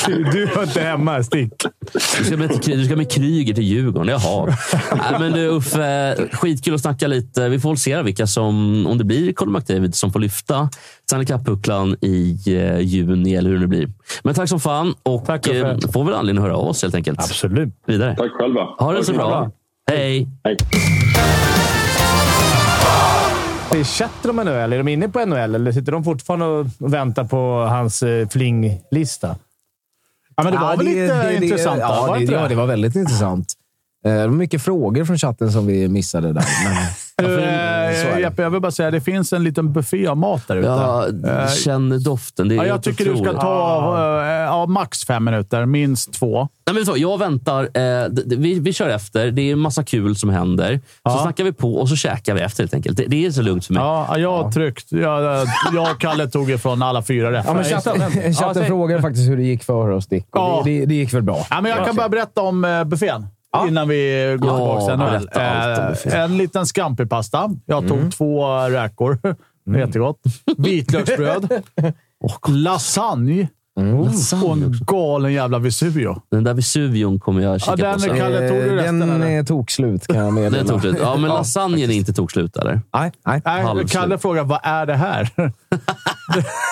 D: Du, du var inte hemma. Stick.
B: Du ska med, till Kry- du ska med Kryger till Djurgården. Jaha. Nej, men du, Uffe, skitkul att snacka lite. Vi får väl se vilka som, om det blir Colin McDavid som får lyfta Stanley Cup-pucklan i eh, juni, eller hur det nu blir. Men tack som fan och
D: Tack, Uffe.
B: eh, får väl anledning att höra av oss helt enkelt.
D: Absolut.
B: Vidare.
G: Tack själva.
B: Ha det så
G: Okej.
B: bra. Hej.
G: Hej.
D: Det är chatten om NHL. Är de inne på NHL eller sitter de fortfarande och väntar på hans eh, flinglista?
C: Ja, men det var väl lite intressant? va?
E: Ja,
C: var
E: det,
C: inte
E: ja, det var väldigt intressant. Eh, Det var mycket frågor från chatten som vi missade där. Men
C: Du,
B: så är
C: eh,
B: det.
C: Jeppe, jag vill bara säga det finns en liten buffé av mat där ute.
B: Ja,
C: Eh,
B: känner doften. Det är
C: ja, jag
B: helt
C: tycker du ska
B: otroligt.
C: ta eh, ja, max fem minuter, minst två.
B: Nej, men så, jag väntar. Eh, d- d- vi, vi kör efter. Det är en massa kul som händer. Så
C: Ja.
B: snackar vi på och så käkar vi efter helt enkelt. Det, det är så lugnt för mig.
C: Ja, jag har tryckt. Jag, jag och Kalle tog ifrån alla fyra rätt.
E: Ja, men
D: just
E: chatten,
D: det. Ja,
E: chatten
D: säg.
E: frågar faktiskt hur det gick för oss, Dick. Och
C: Ja.
E: Det, det, det gick väl bra.
C: Ja, men jag kan bara berätta om eh, buffén innan vi går
B: Ja,
C: tillbaka till NHL.
B: berätta allt om
C: Eh,
B: buffén.
C: En liten scampipasta. Jag tog två räkor. Det är Jättegott. Vitlöksbröd. Lasagne. Och en galen jävla Vesuvio.
B: Den där Vesuvion kommer jag kika
C: Ja, den
B: på sen.
C: kan- Kalle, tog du
E: Eh,
C: resten,
E: Den
C: eller?
E: eh, tog slut kan jag meddela.
B: Den tog slut. Ja, men lasagnen är inte tog slut, eller?
E: Nej, nej.
C: Nej,
B: Halvslut.
C: Kalle frågar vad är det här?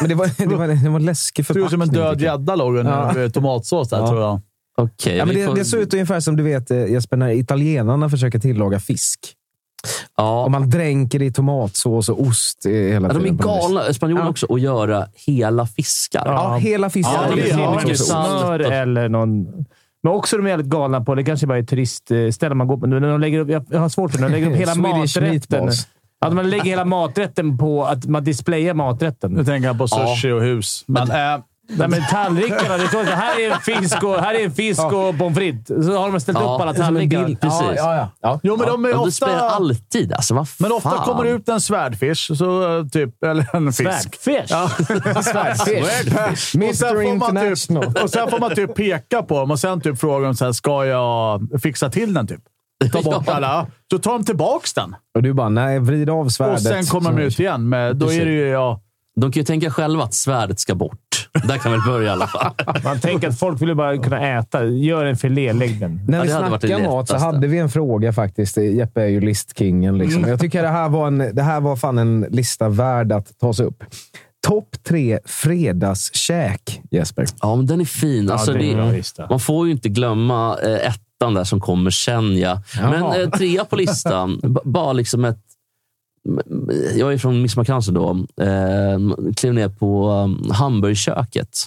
E: Men det var, det var, det var en läskig
C: Det ser ut som
E: förpackning.
C: en död
E: tycker jag.
C: gädda låg under tomatsås där, tror jag.
B: Okej.
E: Ja, men
B: vi
E: det,
B: får-
E: det såg ut ungefär som du vet, eh, Jesper, när italienarna försöker tillaga fisk.
B: ja.
E: Om man dränker det i tomatsås och ost eh, hela
B: Ja, de är
E: tiden. på något vis.
B: galna, spanjorerna också, att göra hela fiskar.
E: Ja, hela fisken.
C: Ja, det är
E: Ja,
C: mycket
E: det är liksom
B: salt.
E: så.
D: Smör eller någon... Men också de är jävligt galna på, det kanske bara är turistställen man går på, men när de lägger upp, jag jag har svårt för det, de lägger upp hela
E: Swedish
D: maträtten.
E: meatballs.
D: Att man lägger hela maträtten på att man displayar maträtten.
C: Nu tänker jag på sushi och hus. Men, eh,
D: Nej, men tallrikarna. Det står så här är en fisk och, här är en fisk och pommes frites. Så har de ställt
B: Ja,
D: upp alla
B: som en
D: tallrikar.
B: bild. Precis.
E: Ja, ja, ja.
C: jo, men de är
B: Ja, det spelar
C: ofta...
B: alltid alltså. Vad fan?
C: Men ofta kommer det ut en svärdfisk, så, eh, typ, eller en fisk.
D: Svärdfisk! Ja.
E: Swedish.
C: Och sen
E: Mr
C: får man
E: International.
C: Typ, och sen får man typ peka på dem och sen typ fråga dem så här, ska jag fixa till den typ? Ta bort
B: Ja.
C: alla. Så tar de tillbaks den
E: Och du bara, nej, vrid av svärdet.
C: och sen kommer de ut igen. Men då är det ju ja,
B: De kan ju tänka själva att svärdet ska bort. Där kan väl börja i alla fall.
D: Man tänker att folk vill ju bara kunna äta. Gör en filé, lägg den.
E: När vi
B: det hade varit det
E: snackade mat så
B: lättaste.
E: hade vi en fråga faktiskt. Jeppe är ju listkingen. Liksom.
C: Mm.
E: Jag tycker det här, var en, det här var fan en lista värd att ta sig upp. Topp tre fredagskäk, Jesper.
B: Ja, men den är fin. Alltså,
D: det är bra
B: det,
D: lista.
B: man får ju inte glömma eh, ettan där som kommer sen. Ja. Men
E: Jaha.
B: eh, trea på listan, b- bara liksom ett... m- Jag är från Midsommarkransen då. Eh, klev ner på um, Hamburgköket.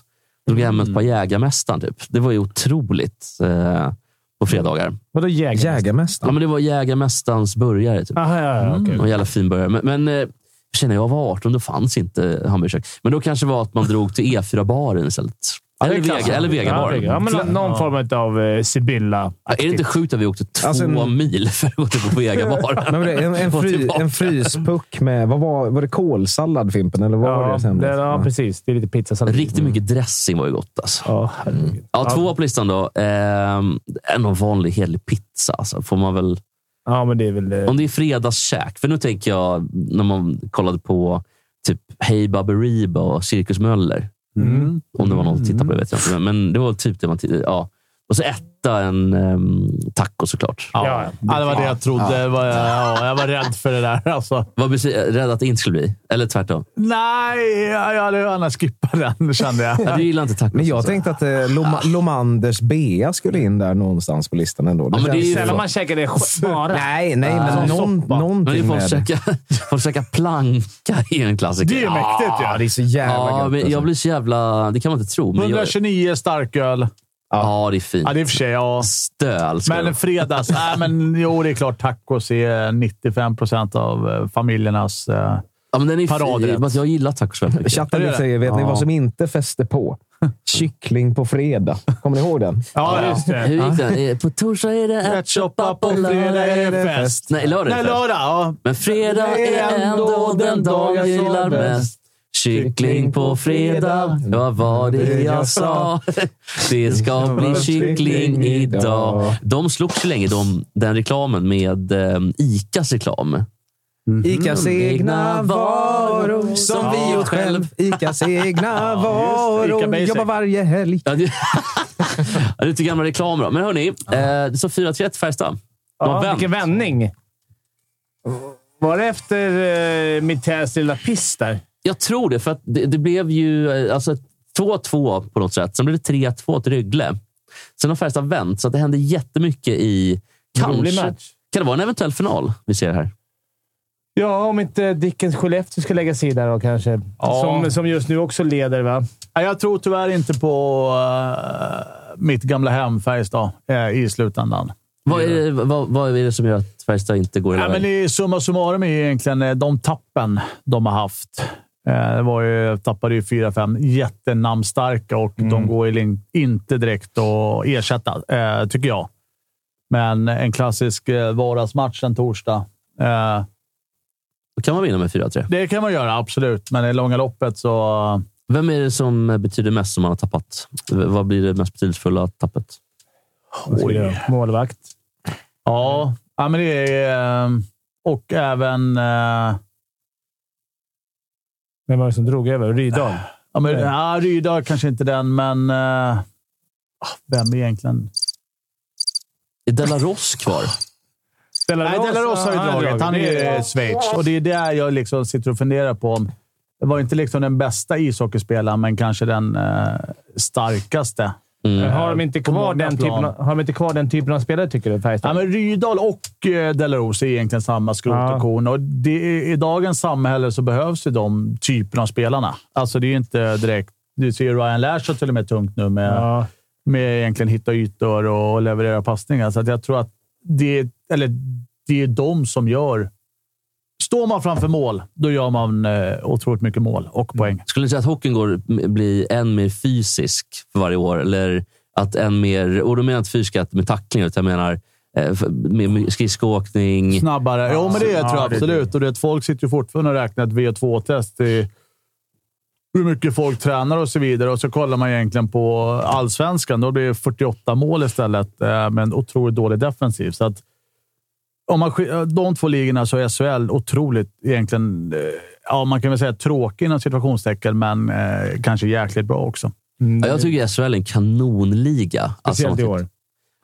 B: Drog hem ett par Jägarmästaren. Typ. Det var ju otroligt eh, på fredagar.
D: Vadå jägare?
B: Ja,
E: Jägarmästaren.
B: men det var Jägarmästarens burgare. Typ.
D: Aha, ja, ja, okej.
B: Någon jävla fin burgare. Men, men eh, jag känner, jag var 18, då fanns inte hamburgerkök. Men då kanske det var att man drog till E4-baren istället.
C: det är
B: Eller,
C: klassiskt.
B: Vega, eller
D: Ja,
B: Vegabaren.
D: ja, men någon, någon form av eh, Sibylla.
B: Ja, Är det inte sjukt att vi åkte två
E: Alltså, en-
B: mil för att gå till Vegabaren?
E: Nej, men det, en, en,
B: Och
E: fry,
B: tillbaka.
E: en fryspuck med... Vad var, var det kålsallad, Fimpen? Eller vad var
D: Ja,
E: det? Sen?
D: det, ja, precis. Det är lite pizzasallad.
B: Riktigt mycket dressing var ju gott. Alltså. Ja.
D: Ja, herregud.
B: tvåa på listan då. Ehm, en av vanlig hederlig pizza. Alltså. Får man väl,
D: ja, men det är väl... eh,
B: om det är fredagskäk. För nu tänker jag när man kollade på typ Hey Baberiba och Cirkus Möller.
E: Mm.
B: Om det var någon som tittade på det vet jag inte. men- Men det var typ det man tittade ja. Och så etta en ehm, taco såklart.
C: ja,
D: Ja,
C: ja, det var det jag trodde. Det Var, ja, jag var rädd för det där alltså.
B: Var besi- rädd att det inte skulle bli. Eller tvärtom.
C: Nej, jag jag hade gärna skippat den kände jag.
B: Ja, du gillar inte tacos.
E: Men jag
B: alltså.
E: tänkte att eh, Loma, Lomanders Bea skulle in där någonstans på listan ändå.
B: Ja, men det är ju-
D: Sällan man käkar det sj- bara.
E: Nej, nej, men någon,
B: Men det är
E: någonting
B: ju folk
E: med det.
B: försöka, folk försöka planka i en klassiker.
C: Det är ju mäktigt
E: Ja,
C: ju.
E: det är så jävla
B: Ja,
E: gött.
B: men
E: alltså.
B: jag blir så jävla... Det kan man inte tro. Men jag,
C: 129 starköl.
B: ja, det är fint.
C: Ja, det är i och för sig. Ja.
B: Stöl ska det
C: Men en
B: vara.
C: fredags... Nej, men jo, det är klart. Tacos är 95 procent av eh, familjernas... eh,
B: ja, men den är
C: paradrätt.
B: fin. Men Jag gillar tacos väldigt mycket.
E: Chatten
C: Är det
E: lite
C: det?
E: säger, vet ni vad som inte fäste på? Kyckling på fredag. Kommer ni ihåg den?
C: Ja, just det.
B: Hur gick den? Eh, På torsdag är det ärtsoppa, på lördag är det...
C: fest.
B: Nej, lördag är
C: Nej,
B: det fest.
C: lördag. Ja.
B: Men fredag är ändå den dag jag gillar mest. Kyckling på fredag, vad var det jag sa? Det ska bli kyckling idag. De slogs ju länge, de, den reklamen, med eh, Icas reklam.
E: Icas Mm.
A: Mm.
E: egna
B: Egna
E: varor
B: varor
E: som
B: som
E: vi
B: vi
E: gjort själv. Icas egna
C: Ica
E: varor.
C: Basic.
E: Jobbar varje helg.
B: Ja, det, ja, lite gamla reklamer. då. Men hörni, eh, det står 4-3 Färjestad. De
D: Ja,
B: har vänt.
D: vilken vändning! Var det efter uh, Mittells lilla piss där?
B: Jag tror det, för att det, det blev ju eh, alltså, 2-2 på något sätt. Sen blev det 3-2 till Rögle. Sen har Färjestad vänt, så att det hände jättemycket i...
D: Rolig
B: Kanske.
D: match.
B: Kan det vara en eventuell final vi ser här?
D: Ja, om inte Dickens Skellefteå ska lägga sig i där då kanske. Som, som just nu också leder, va?
C: Nej, Jag tror tyvärr inte på eh, mitt gamla hem Färjestad eh, i slutändan.
B: Vad är, det, vad, vad är det som gör att Färjestad inte går hela
C: Nej, men
B: vägen?
C: i summa summarum är ju egentligen eh, de tappen de har haft. Eh, Det var ju, tappade ju fyra, fem jättenamnstarka och
B: Mm.
C: de går ju lin- inte direkt att ersätta, eh, tycker jag. Men en klassisk eh, vardagsmatch en torsdag. eh,
B: Då kan man vinna med 4-3.
C: Det kan man göra, absolut. Men i långa loppet så...
B: Vem är det som betyder mest som man har tappat? V- Vad blir det mest betydelsefulla tappet?
D: Målvakt.
C: Ja, ja men det är... eh, Och även... eh,
D: Vem var det som drog över? Rydahl?
C: Ja, men, ja, Rydahl kanske inte den, men... eh, ah, Vem egentligen?
B: Är Delaros kvar?
C: Nej, Delaros har ju dragit. Han är i Schweiz. Och det är där jag liksom sitter och funderar på om... Det var inte liksom den bästa ishockeyspelaren, men kanske den eh, starkaste.
B: Mm.
D: Har de, inte
C: På
D: kvar
C: många
D: den
C: plan.
D: typen av, har de inte kvar den typen av spelare, tycker du?
C: Ja,
D: Färjestad?
C: men Rydahl och eh, Delaros är egentligen samma skrot
D: Ja.
C: och korn. Och det, är- I dagens samhälle så behövs ju de typerna av spelarna. Alltså, det är ju inte direkt... Du ser ju Ryan Lash till och med tungt nu med...
D: Ja.
C: med egentligen hitta ytor och leverera passningar. Så att jag tror att det, eller det är de som gör... Står man framför mål, då gör man eh, otroligt mycket mål
D: Mm.
C: och poäng.
B: Skulle ni säga att hockeyn går, blir än mer fysisk för varje år? Eller att än mer, och då menar jag inte fysisk att med tacklingar, utan jag menar eh, f- med med skridskoåkning.
C: Snabbare. Jo, men det
D: Ja,
C: tror jag
D: det-
C: absolut. Och det är att folk sitter ju fortfarande och räknar ett V2-test i hur mycket folk tränar och så vidare. Och så kollar man egentligen på allsvenskan. Då blir det 48 mål istället, eh, men otroligt dålig defensiv. Så att om man, sk- eh, de två ligorna så är SHL otroligt egentligen... eh, Ja, man kan väl säga tråkig inom situationstecken, men eh, kanske jäkligt bra också.
B: Ja, jag tycker SHL är en kanonliga. Alltså, om man
D: Speciellt i
B: tittar-
D: år.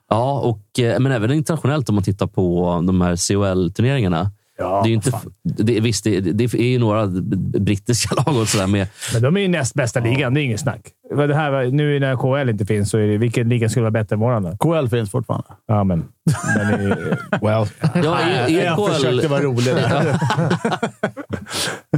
B: Ja, och, eh, men även internationellt om man tittar på de här CHL-turneringarna.
C: Ja,
B: det är ju inte, det, visst, det, det är ju några brittiska lag och sådär med.
D: Men de är ju näst bästa ligan. Det är inget snack. Vad Det här, var- nu när KHL inte finns, så är det, vilken liga skulle vara bättre än våran då?
C: KL finns fortfarande.
D: Ja, men... Den är, ju-
E: Well.
B: Ja, E i- i
C: jag
B: EKL,
C: försökte vara rolig. där.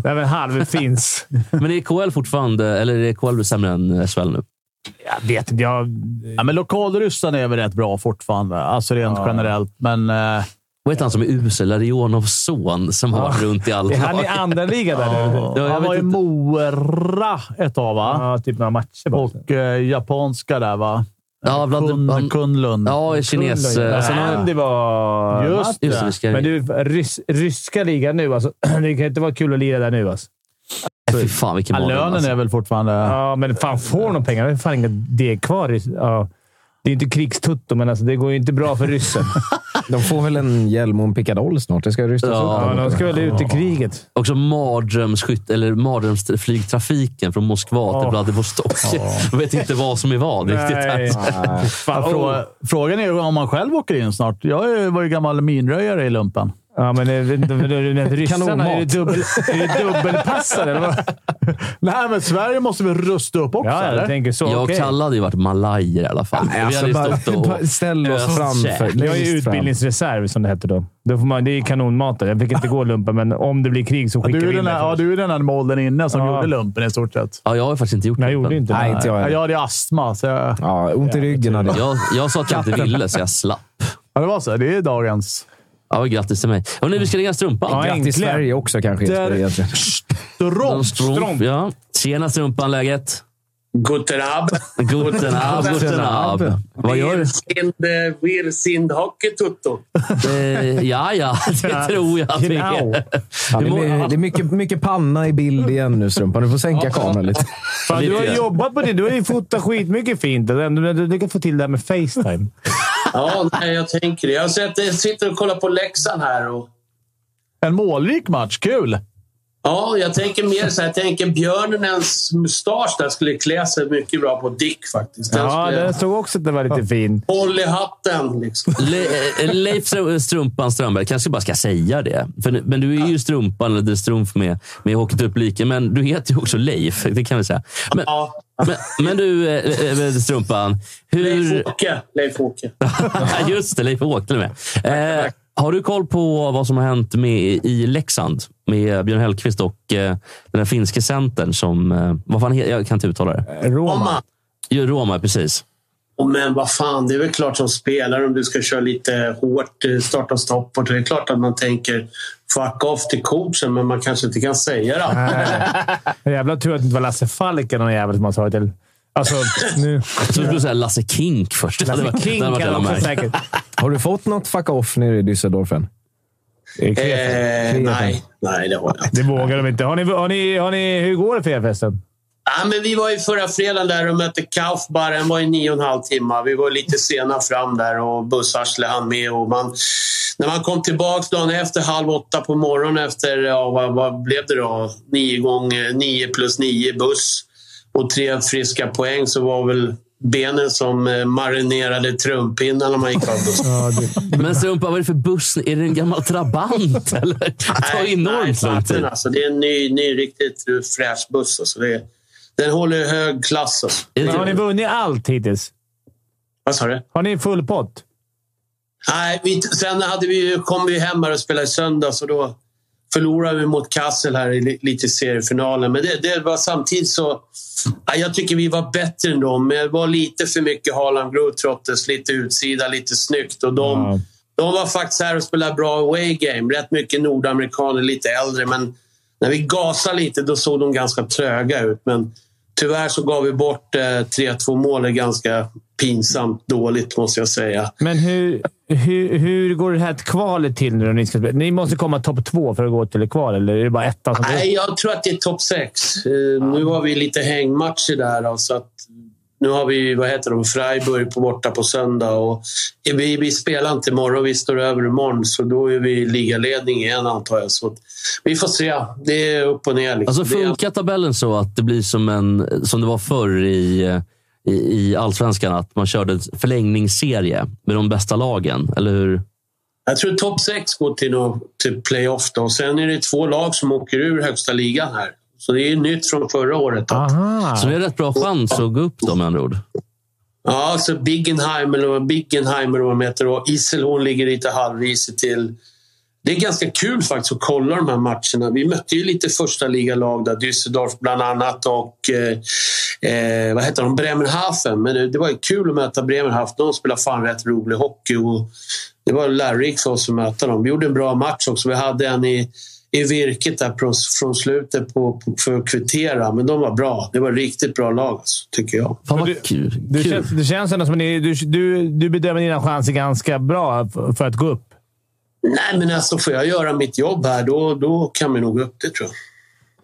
D: den är halv finns.
B: men är KL fortfarande, eller är KL sämre än SHL nu?
D: Jag vet inte. Jag,
C: ja, men lokalryssarna är väl rätt bra fortfarande, alltså rent generellt. Men... Eh,
B: Vad heter han som är usel? Larionovs son som har varit runt i alla
D: han är
B: lag.
D: i andra liga där nu.
B: Ja, jag
C: han var
B: vet
C: i
B: inte.
C: Mora ett tag, va?
D: Ja, typ några matcher bara.
C: Och eh, japanska där, va?
B: Ja, bland,
C: Kun,
B: han,
C: Kunlund.
B: ja, är kines. eh, sen har-
D: Nej, det Alltså, var...
C: Just
B: Just det, vi ska...
D: Men du, rys, ryska ligan nu alltså. Det kan inte vara kul att lira där nu alltså.
B: Fy fan vilken
C: Ja,
B: mardröm.
C: lönen
B: Alltså.
C: är väl fortfarande...
D: Ja, men fan får de pengar? Det är fan inget det kvar. i- Ja. Det är inte krigstutto, men alltså, det går ju inte bra för ryssen.
E: De får väl en hjälm och en pickadoll snart. Det ska rystas
B: Ja,
E: upp.
D: Ja,
E: här
D: de
E: borta.
D: ska väl ut i kriget.
B: Också mardrömsskytt, eller mardrömsflygtrafiken från Moskva till
D: Ja.
B: Vladivostok. Jag vet inte vad som är vad riktigt.
D: Nej.
B: Här.
E: Nej.
D: Fan,
C: Ja,
D: oh.
C: frå- Frågan är ju om man själv åker in snart. Jag är- var ju gammal minröjare i lumpen.
D: Ja, men eh, vänta, vänta, vänta, ryssarna,
E: Kanonmat.
D: är det, dubbel, är det dubbelpassare eller vad?
C: Nej, men Sverige måste väl rusta upp också,
D: Ja, jag
C: eller?
D: tänker så.
B: Jag och
D: okej.
B: Kalle hade ju varit malajer i alla fall.
E: Nej,
B: vi hade
E: alltså,
B: ju
E: bara,
B: stått och...
E: bara ställ oss
B: öst
E: framför.
B: käk.
D: Jag är
E: längst
D: ju
E: fram.
D: utbildningsreserv, som det hette då. då får man, det är ju kanonmat. där. Jag fick inte gå lumpen, men om det blir krig så skickar
C: Du
D: vi
C: är,
D: in
C: den här,
D: där.
C: ja, du är den här molnen inne som
D: Ja.
C: gjorde lumpen i stort sett.
B: Ja, jag har ju faktiskt inte gjort
D: Nej, jag gjorde
B: lumpen.
D: inte det.
E: Nej, inte jag
C: Ja,
E: heller.
C: jag hade ju astma, så jag...
E: Ja, ont i ryggen hade jag.
B: Jag, jag sa att jag inte ville, så jag slapp.
C: Ja, det var så. Det är dagens...
B: Ja, grattis till mig. Och nu, vi ska ringa Strumpan.
D: Ja,
E: Grattis
D: äntligen.
E: Sverige också kanske. inte
C: Där-
E: egentligen.
C: Stromp!
B: Strump, Ja. Tjena Strumpan, läget?
H: Guten Abend.
B: Guten Abend, guten Abend. Vad gör du?
H: Wir sind, äh, wir sind Hockeytutto.
B: Eh, ja, ja, det tror jag att vi
D: Genau.
B: är.
E: Ja, det
B: Hur mår-
E: är, det är mycket, mycket panna i bild igen nu, Strumpan. Du får sänka kameran lite.
D: Fan, du har
B: Lite.
D: jobbat på det. Du har ju fotat skitmycket fint. Du, du, du kan få till det här med Facetime.
H: Ja, nej, jag tänker det. Jag sitter- sitter och kollar på Leksand här. Och,
C: En målrik match. Kul!
H: ja, jag tänker mer så här. Jag tänker björnens mustasch där skulle klä sig mycket bra på Dick faktiskt. Den
D: Ja,
H: skulle,
D: den såg också att den var lite fin.
H: Håll i hatten liksom.
B: Le, eh, Leif Str- Strumpan Strömberg, kanske bara ska säga det. För, nu- men du är ju Strumpan, eller Strumf med, med hockeytupp-liken, men du heter ju också Leif. Det kan vi säga. Men,
H: Ja,
B: men, men du, eh, eh, Strumpan. Hur,
H: Leif-Åke. Leif-Åke.
B: just det, Leif Åke till och med. Eh, har du koll på vad som har hänt med, i Leksand med Björn Hellkvist och eh, den där finske centern som... Eh, vad fan he, jag kan inte uttala det.
D: Roma.
H: Omma.
B: Jo, Roma, precis.
H: Men vad fan, det är väl klart som spelare om du ska köra lite hårt, eh, starta stopp. Och det är klart att man tänker fuck off till coachen, men man kanske inte kan säga det.
D: Jävla tur att det inte var Lasse Falk eller någon jävel som man sa till. Alltså, nu...
B: Jag trodde du skulle säga Lasse Kink först. Det hade
D: Lasse
B: varit-
D: Alltså, King
B: det hade varit
D: kan
B: jävla
D: också
B: märkligt.
D: säkert.
E: Har du fått något fuck off nere i Düsseldorf än?
H: Eh, nej, nej, det har jag inte.
D: Det vågar de inte. Har ni, har ni, har ni, hur går det för er förresten?
H: Ja, men vi var ju förra fredagen där och mötte Kaufbar. Han var ju nio och en halv timme. Vi var lite sena fram där och bussarsle han med. Och man, när man kom tillbaka dagen efter halv åtta på morgonen efter, ja, vad, vad blev det då? Nio, gånger, nio plus nio buss och tre friska poäng så var väl benen som eh, marinerade trumpinnar när man gick av bussen.
B: Men Strumpa, vad är det för buss? Är det en gammal Trabant? Eller? Det tar
H: Nej,
B: enormt
H: nej,
B: lång
H: fatten
B: tid.
H: alltså. Det är en ny, ny riktigt fräsch buss. Alltså. Det, den håller ju hög klass. Alltså.
B: Är det-
D: Har ni vunnit allt hittills?
H: Vad sa du?
D: Har ni full pott?
H: Nej, vi, sen hade vi, ju- kom vi hem här och spelade i söndags och då förlorade vi mot Kassel här i li- lite i seriefinalen. Men det, det var samtidigt så... Ja, jag tycker vi var bättre än dem, men det var lite för mycket Haaland Globetrotters. Lite utsida, lite snyggt. Och de,
D: Ja.
H: de var faktiskt här och spelade bra away game. Rätt mycket nordamerikaner, lite äldre. Men när vi gasade lite, då såg de ganska tröga ut. Men tyvärr så gav vi bort eh, 3-2 målet ganska pinsamt dåligt, måste jag säga.
D: Men hur, hur, hur går det här kvalet till nu? då Ni, ska spela? ni måste komma topp två för att gå till kval, eller är det bara ettan
C: Ah,
D: som
H: Nej, jag tror att det är topp sex. Eh, Nu har vi lite hängmatcher där. Då, så att nu har vi vad heter de, Freiburg på borta på söndag. Och vi, vi spelar inte imorgon, vi står över imorgon. Så då är vi i ligaledning igen antar jag. Så att vi får se. Det är upp och ner. Liksom.
B: Alltså
H: det är,
B: funkar tabellen så att det blir som, en, som det var förr i, i, i allsvenskan? Att man körde en förlängningsserie med de bästa lagen, eller hur?
H: jag tror topp sex går till, nå- till playoff. Då. Och Sen är det två lag som åker ur högsta ligan här. Så det är nytt från förra året. Då.
D: Aha.
B: Så det är rätt bra chans att gå upp då med andra ord.
H: Ja, så Biggenheim, eller vad Biggenheim eller vad de heter. Och Iselhorn ligger lite halvrisigt till. Det är ganska kul faktiskt att kolla de här matcherna. Vi mötte ju lite första ligalag där, Düsseldorf bland annat och eh, eh, vad heter de? Bremerhaven. Men det, det var ju kul att möta Bremerhaven. De spelar fan rätt rolig hockey och det var lärorikt för oss att möta dem. Vi gjorde en bra match också. Vi hade en i, i virket där från, från slutet på, på, för att kvittera, men de var bra. Det var riktigt bra lag, alltså, tycker jag.
B: Fan vad
D: du-
B: kul.
D: Det
B: kul.
D: känns, det känns ändå som att ni, du, du, du bedömer dina chanser ganska bra f- för att gå upp.
H: Nej, men alltså får jag göra mitt jobb här, då, då kan vi nog upp det tror jag.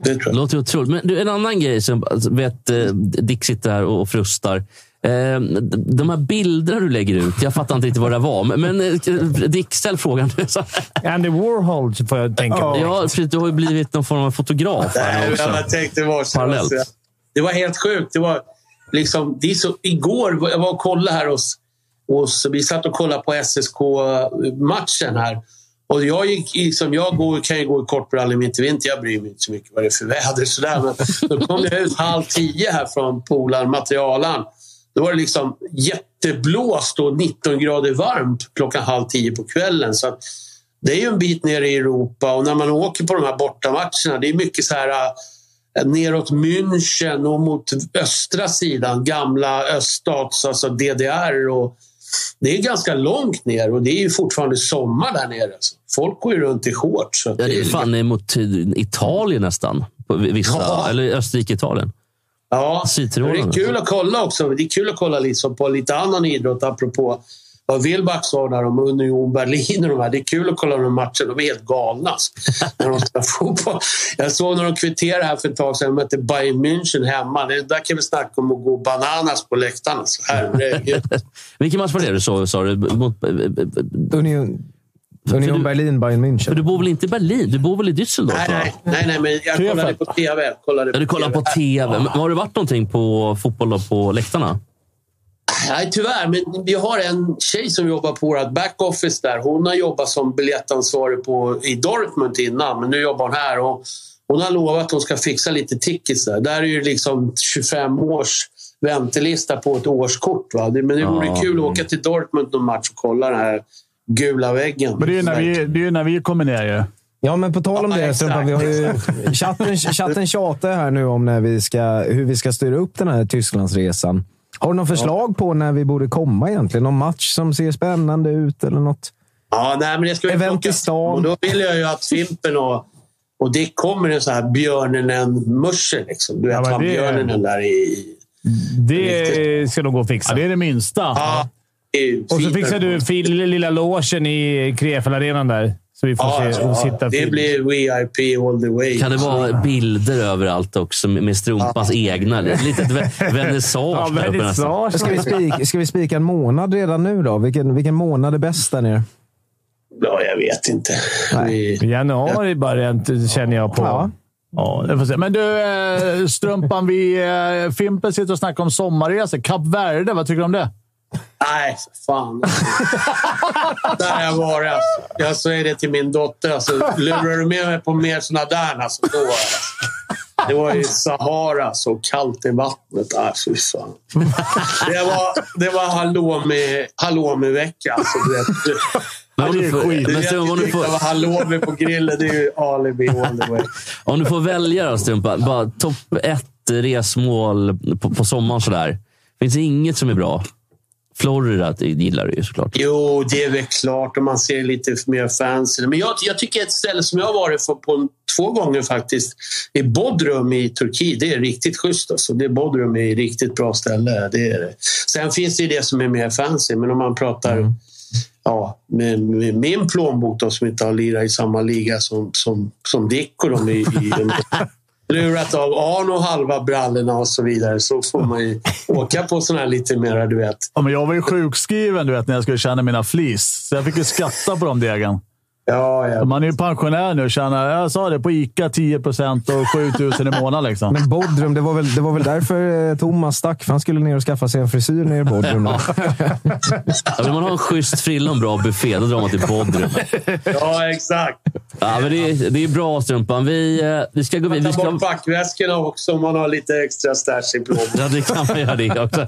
H: Det tror
B: Det
H: jag.
B: låter otroligt. Men du, en annan grej som alltså, vet, eh, Dick sitter här och och frustar. Eh, De här bilderna du lägger ut, jag fattar inte riktigt vad det var. Men, men eh, Dick, ställ frågan. Så här.
D: Andy Warhol får jag tänka på.
B: Ja, precis, du har ju blivit någon form av fotograf. Här
H: Nej,
B: också.
H: men jag tänkte var så.
B: Parallellt.
H: så- Det var helt sjukt. Det var liksom, det är så, igår var jag var och kollade här hos, hos... Vi satt och kollade på SSK-matchen här. Och jag, gick, i- som jag går, kan ju gå i kortbrallor mitt i vinter. Jag bryr mig inte så mycket vad det är för väder. Sådär. Men då kom jag ut halv tio här från polaren, materialaren. Då var det liksom jätteblåst och 19 grader varmt klockan halv tio på kvällen. Så att det är ju en bit ner i Europa och när man åker på de här bortamatcherna, det är mycket så här eh, neråt München och mot östra sidan, gamla öststats, alltså DDR. Och det är ganska långt ner och det är ju fortfarande sommar där nere. Alltså. Folk går ju runt i shorts. så att
B: Ja, det är fan emot Italien nästan. På vissa,
H: Ja.
B: Eller Österrike-Italien.
H: Ja,
B: Citronen. alltså.
H: det är kul att kolla också. Det är kul att kolla liksom på lite annan idrott, apropå vad Wilbach sa där om Union Berlin och de här. Det är kul att kolla de matcherna. De är helt galna alltså, när de spelar fotboll. Jag såg när de kvitterade här för ett tag sedan. De mötte Bayern München hemma. Det där kan vi snacka om att gå bananas på läktarna. alltså. Så här,
B: Vilken match var det du såg, sa du? Mot,
E: Union, Union
B: du-
E: Berlin, Bayern
B: för
E: München.
B: du bor väl inte i Berlin? Du bor väl i Düsseldorf?
H: nej,
B: va?
H: nej, nej, nej, men jag kollade på TV. Kollade
B: Ja, du kollar på TV. Men har det varit någonting på fotboll då, på läktarna?
H: Nej, tyvärr. Men vi har en tjej som jobbar på vårt backoffice där. Hon har jobbat som biljettansvarig på, i Dortmund innan, men nu jobbar hon här. Och hon har lovat att hon ska fixa lite tickets där. Där är ju liksom 25 års väntelista på ett årskort. Va? Det- Men det vore
B: Ja.
H: kul att åka till Dortmund någon match och kolla den här gula väggen.
C: Men det är ju när vi, det är ju när vi kommer ner ju.
E: Ja, men på tal om
H: Ja,
E: det.
H: exakt,
E: Strumpa, vi har ju, chatten, chatten tjatar här nu om när vi ska, hur vi ska styra upp den här Tysklandsresan. Har du något förslag på när vi borde komma egentligen? Någon match som ser spännande ut eller något?
H: Ja, nej, men det ska ju
E: Event i
H: plockas.
E: stan.
H: Och då vill jag ju att Fimpen och, och Dick kommer en sån här björnenen-musche. Liksom. Du vet,
D: Ja, men
H: han
D: det-
H: björnenen där i...
D: Det ska de gå och
C: Ja,
D: fixa.
C: det är det minsta.
H: Ja, i
D: Och så
H: Fimpen.
D: fixar du fil, lilla logen i Krefeld-arenan där. Så vi får
H: Ja,
D: se,
H: ja,
D: sitta
H: det
D: fint.
H: blir VIP all the way.
B: Kan det vara bilder överallt också med med Strumpas egna? Det är Lite ett ve-
D: Ja,
B: vernissage där uppe nästan.
D: vernissage.
E: Ska vi, spika, ska vi spika en månad redan nu då? Vilken, vilken månad är bäst där nere?
H: Ja, jag vet inte. Vi,
D: Januari bara rent, känner jag på.
E: Ja.
C: Ja, det får se. Men du, eh, Strumpan, vi, eh, Fimpen sitter och snackar om sommarresor. Kap Verde, vad tycker du om det?
H: nej, för fan. där har jag varit. Alltså. Jag säger det till min dotter. Alltså, lurar du med mig på mer såna där, alltså, då... Alltså. Det var ju Sahara, så kallt i vattnet. Ah, fy fan. Det var, det var halloumi- halloumivecka. Alltså, du vet. Du-
B: Men om du får-
H: Du
B: men
H: vet,
B: Strumpa, om
H: det
B: du får-
H: var halloumi på grillen. Det är ju alibi all the way.
B: Om du får välja då, Strumpa. Bara topp ett resmål på, på sommaren sådär. Finns det inget som är bra? Florida det gillar du ju såklart.
H: Jo, det är väl klart om man ser lite mer fancy. Men jag, jag tycker ett ställe som jag har varit på, på två gånger faktiskt, är Bodrum i Turkiet. Det är riktigt schysst. Alltså. Det är Bodrum är ett riktigt bra ställe. Det är det. Sen finns det ju det som är mer fancy, men om man pratar ja, med, med min plånbok då, som inte har lirat i samma liga som, som, som Dick och de i, i lurat av Arno halva brallorna och så vidare, så får man ju åka på sådana här lite mera, du vet,
C: Ja, men jag var ju sjukskriven du vet, när jag skulle tjäna mina flis, så jag fick ju skatta på de degen.
H: ja, ja,
C: Man är ju pensionär nu och tjänar, jag sa det, på ICA 10 procent och 7 000 i månaden. Liksom.
E: Men Bodrum, det var väl, det var väl därför eh, Thomas stack. För han skulle ner och skaffa sig en frisyr nere i Bodrum. då.
B: Ja, vill Alltså, man ha en schysst frilla och en bra buffé, då drar man till Bodrum.
H: ja, exakt.
B: Ja, men det, är, det är bra, Strumpan. Vi, eh, vi ska gå vidare.
H: Ta
B: Vi ska...
H: bort packväskorna också om man har lite extra stash i plånboken.
B: Ja, det kan man göra det också.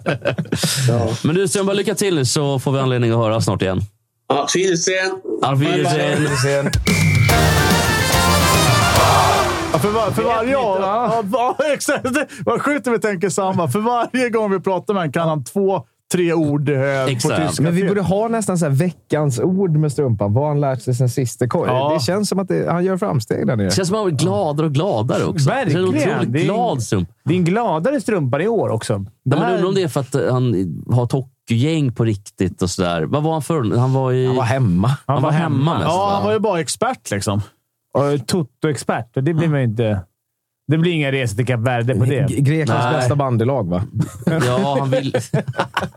B: Men du, Strumpa, lycka till nu så får vi anledning att höra snart igen.
H: Ja, Filsen.
B: Auf Wiedersehen.
C: Ja, för, var, för varje år... Ja, ja, exakt. Det- Vad sjukt att vi tänker samma. För varje gång vi pratar med honom kan han två, tre ord eh, på
B: Exakt.
C: tyska.
E: Men vi borde ha nästan så här veckans ord med strumpan. Vad han lärt sig sen sist. Det,
C: Ja.
E: det känns som att det, han gör framsteg där nere.
B: Det känns som att man blir gladare och gladare också.
D: Verkligen.
B: Det känns
D: Det är-
B: otroligt glad, Strumpa.
D: Din gladare strumpa i år också.
B: Ja, Man
D: Där-
B: undrar om det är för att eh, han har Tokyo-gäng på riktigt och sådär. Vad var han för? Han var i...
E: Han var hemma.
B: han var hemma mest.
C: Ja,
B: va?
C: han var ju bara expert liksom.
D: Och Toto-expert. Och det blir man ju inte... Det blir inga resor till Kap Verde på det.
E: G- Greklands
B: Nej.
E: bästa bandylag, va?
B: Ja, han vill...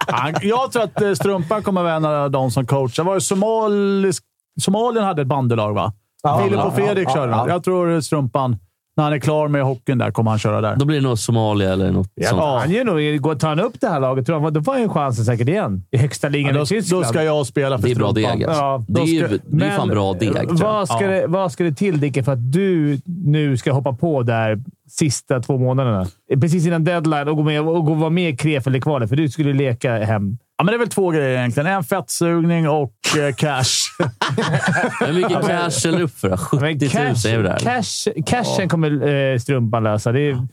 C: Han, jag tror att eh, Strumpan kommer vara en av de som coachar. Var det somalisk, Somalien hade ett bandylag, va? Filip och Fredrik
E: ja,
C: körde
E: ja.
C: ja, Jag tror Strumpan, när han är klar med hockeyn där, kommer han köra där.
B: Då blir det nog Somalia eller något sånt.
C: Ja.
D: Han gör nog, går- tar han upp det här laget, tror jag, då får han ju chansen säkert igen. I högsta
C: Ja,
D: ligan
C: då,
D: i Tyskland.
C: då ska jag spela för
B: Det är bra
C: Strumpan.
B: deg. Alltså.
D: Ja,
B: det, är
D: då
B: ju,
D: ska-
B: det är ju fan
D: men
B: bra deg. tror jag.
D: Vad ska, det, vad ska det till, Dicke, för att du nu ska hoppa på där sista två månaderna? Precis innan deadline och gå med och gå vara med i Krefeld-kvalet, för du skulle leka hem.
C: Ja, men det är väl två grejer egentligen. En fettsugning och eh, cash.
B: Hur mycket cash ställer du upp för? då? 70 000 är det där.
D: cash, cashen kommer eh, strumpan lösa. Det är,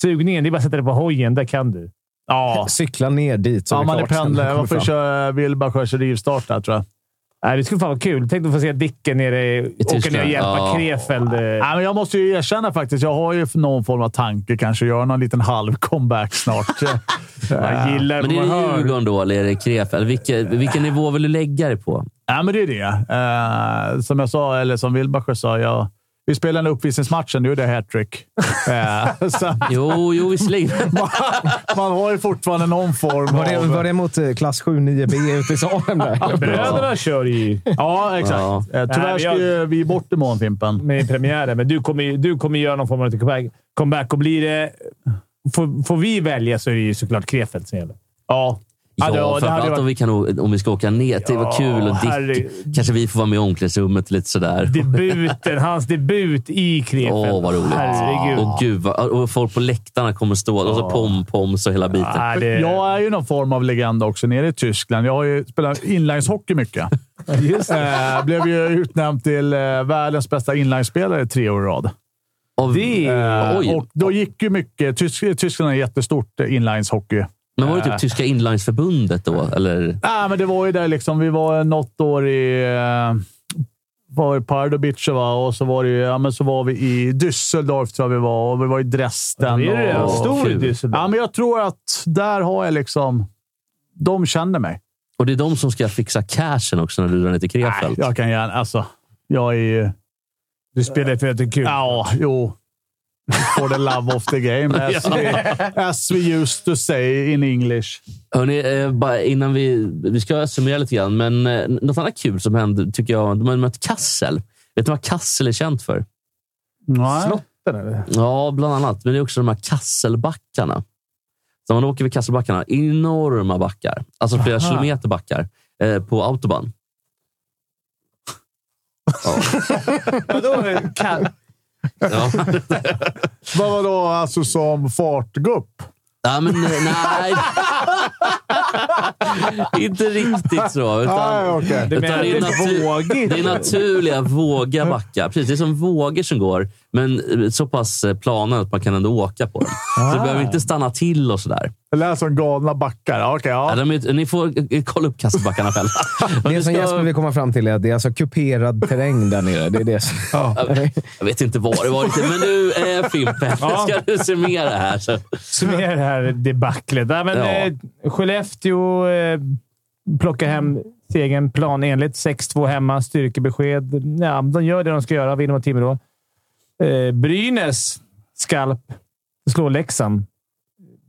D: sugningen, det är bara att sätta det på hojen. Där kan du.
C: Ja,
E: Cykla ner dit så
C: ja
E: det
C: man är
E: klart sen när
C: pendlare.
E: vi
C: Jag får
E: kommer fram.
C: köra Wilbachers rivstart där, tror jag.
D: Nej, det skulle fan vara kul. Tänk att få se Dicken nere, i- åka ner
B: Tyskland.
D: och hjälpa
B: Ja.
D: Krefeld. eh.
C: Nej, men jag måste ju erkänna faktiskt. Jag har ju någon form av tanke kanske. Göra någon liten halv comeback snart.
D: Jag gillar
B: Men
D: vad
B: är
D: man
B: det
D: hör.
B: Djurgården då, eller är det Krefeld? Vilken, vilken nivå vill du lägga dig på?
C: Ja, men det är det. Eh, som jag sa, eller som Wilbacher sa, jag, vi spelar den uppvisningsmatchen. Nu är det hattrick. Eh, så
B: Jo, jo visserligen.
C: man, man har ju fortfarande någon form
E: Var det,
C: av...
E: var det mot eh, klass 7-9B ute i Salem där?
D: Bröderna kör ju
C: Ja, exakt.
B: Ja.
C: Eh, tyvärr
D: Nej, men
C: ska
D: jag-
C: ju vi bort imorgon, Fimpen.
D: med premiären, men du kommer, ju- du kommer göra någon form av comeback. comeback och blir det, får, får vi välja så är det ju såklart Krefeld som gäller.
C: Ja.
B: Ja,
C: det- det hade
B: framförallt
C: varit-
B: om, vi kan, å- om vi ska åka ner. Det var
D: Ja,
B: kul och Dick.
D: herregud.
B: Kanske vi får vara med i omklädningsrummet lite sådär.
D: Debuten, hans debut i Krefeld.
B: Åh, vad roligt.
D: Herregud.
B: Och, gud, vad, och folk på läktarna kommer stå. Och så pom-poms och hela biten.
D: Nej, det,
C: Jag är ju någon form av legend också nere i Tyskland. Jag har ju spelat inlineshockey mycket.
D: just det.
C: Eh, blev ju utnämnd till eh, världens bästa inlinespelare tre år i rad.
B: Och,
D: det är-
C: Eh,
B: oj.
C: och då gick ju mycket... Tysk, Tyskland är jättestort eh, inlineshockey.
B: Men var det typ tyska inlinesförbundet då? Eller?
C: Nej, men det var ju där liksom. Vi var något år i... eh, Var i Pardubice va? och så var, det, ju- ja, men så var vi i Düsseldorf tror jag vi var och vi var i Dresden.
D: Det är ju redan
C: och,
D: stor i
B: kul.
C: ja,
D: Düsseldorf.
C: men jag tror att där har jag liksom... De känner mig.
B: Och det är de som ska fixa cashen också när du drar ner till
C: Nej,
B: Krefeld.
C: jag kan gärna... Alltså, jag är ju...
D: Du spelar ju för att det är kul.
C: Ja, jo. For the love of the game. As we, as we used to say in English.
B: Hörrni, eh, bara innan vi, vi ska summera lite grann, men eh, något annat kul som hände tycker jag. De har mött Kassel. Vet du vad Kassel är känt för?
C: Nej.
D: Slotten eller?
B: Ja, bland annat. Men det är också de här kasselbackarna. Så man åker vid kasselbackarna, enorma backar. Alltså flera
D: Aha.
B: kilometer backar eh, på autobahn.
D: Vadå? Ka-
B: Ja.
C: Vad var då alltså som fartgupp?
B: nej, men eh, nej. Inte riktigt så.
C: Nej,
B: Utan,
C: okej.
D: Du
B: Utan
D: menar att det
B: det är natu-
D: är vågigt?
B: det är naturliga våga backar. Precis, det är som vågor som går, men eh, så pass eh, plana att man kan ändå åka på dem. Så du behöver inte stanna till och sådär.
C: Det lät som galna backar. Ja, Okej,
B: Ja.
C: ja.
B: de är, ni får eh, kolla upp kasselbackarna själva. Om
E: Det
B: ni
E: som
B: ska-
E: Jesper vill komma fram till är att det är alltså kuperad terräng där nere. Det är det som...
B: Jag vet inte vad det var riktigt, men du eh, Fimpen, ska du summera här? Så.
D: summera det här debaclet. Nej, men,
B: Ja.
D: eh, Skellefteå eh, plockar hem segern planenligt. 6-2 hemma. Styrkebesked. Ja, de gör det de ska göra. Vinner mot Timrå. Eh, Brynäs skalp slår Leksand.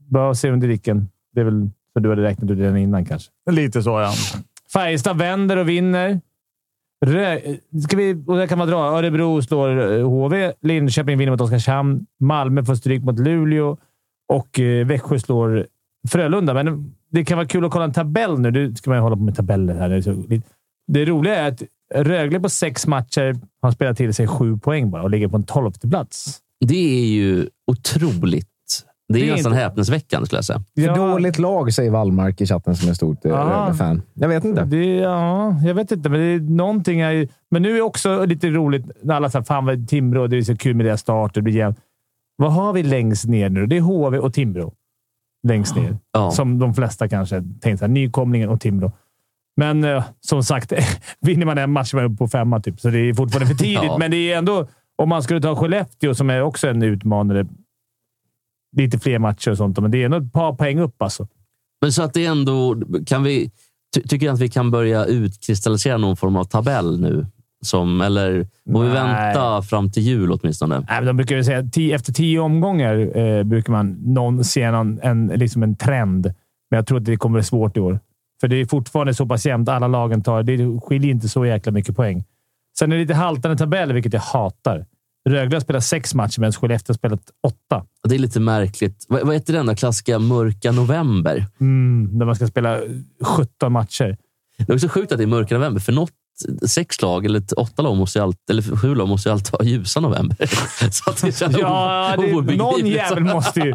D: Bör se under diken. Det är väl för du hade räknat ut den innan kanske.
C: Lite så, ja.
D: Färjestad vänder och vinner. Rö eh, Ska vi, och där kan man dra. Örebro slår eh, HV. Linköping vinner mot Oskarshamn. Malmö får stryk mot Luleå. Och eh, Växjö slår Frölunda. Men det kan vara kul att kolla en tabell nu. Nu ska man ju hålla på med tabeller här. Det, är så, lite- det roliga är att Rögle på sex matcher har spelat till sig sju poäng bara och ligger på en tolfte plats.
B: Det är ju otroligt. Det är,
D: Det är
B: nästan
D: inte-
B: häpnadsväckande skulle jag säga.
E: För dåligt lag, säger Wallmark i chatten som är stort eh,
D: Ah.
E: Rögle-fan. Jag vet inte.
D: Det, ja, jag vet inte, men det är, någonting är ju... Men nu är också lite roligt när alla säger fan vad Timrå, det är så kul med deras start. Det blir jämnt. Vad har vi längst ner nu? Det är HV och Timrå. Längst ner.
B: Ja.
D: Som de flesta kanske tänkte. Så här, nykomlingen och Timrå. Men eh, som sagt, vinner man en match så är man uppe på femma, typ. så det är fortfarande för tidigt.
B: Ja.
D: Men det är ändå, om man skulle ta Skellefteå, som är också en utmanare, lite fler matcher och sånt, men det är ändå ett par poäng upp alltså.
B: Men så att det är ändå... Kan vi, ty, tycker jag att vi kan börja utkristallisera någon form av tabell nu? Som, eller får vi
D: Nej.
B: vänta fram till jul åtminstone?
D: Nej, men de brukar ju säga att ti- efter tio omgångar eh, brukar man någon se någon, en, liksom en trend. Men jag tror att det kommer bli svårt i år. För det är fortfarande så pass jämnt. Alla lagen tar... Det skiljer inte så jäkla mycket poäng. Sen är det lite haltande tabell, vilket jag hatar. Rögle har spelat sex matcher, medan Skellefteå har spelat åtta.
B: Det är lite märkligt. Vad, vad heter den där klassiska mörka november?
D: Mm, där man ska spela 17 matcher.
B: Det är också sjukt att det är mörka november, för något sex lag, eller ett- åtta lag, måste ju alltid, eller sju lag måste ju alltid ha ljusa november. Så att det känns
D: Ja,
B: o-
D: det, någon
B: obegripligt.
D: jävel måste ju...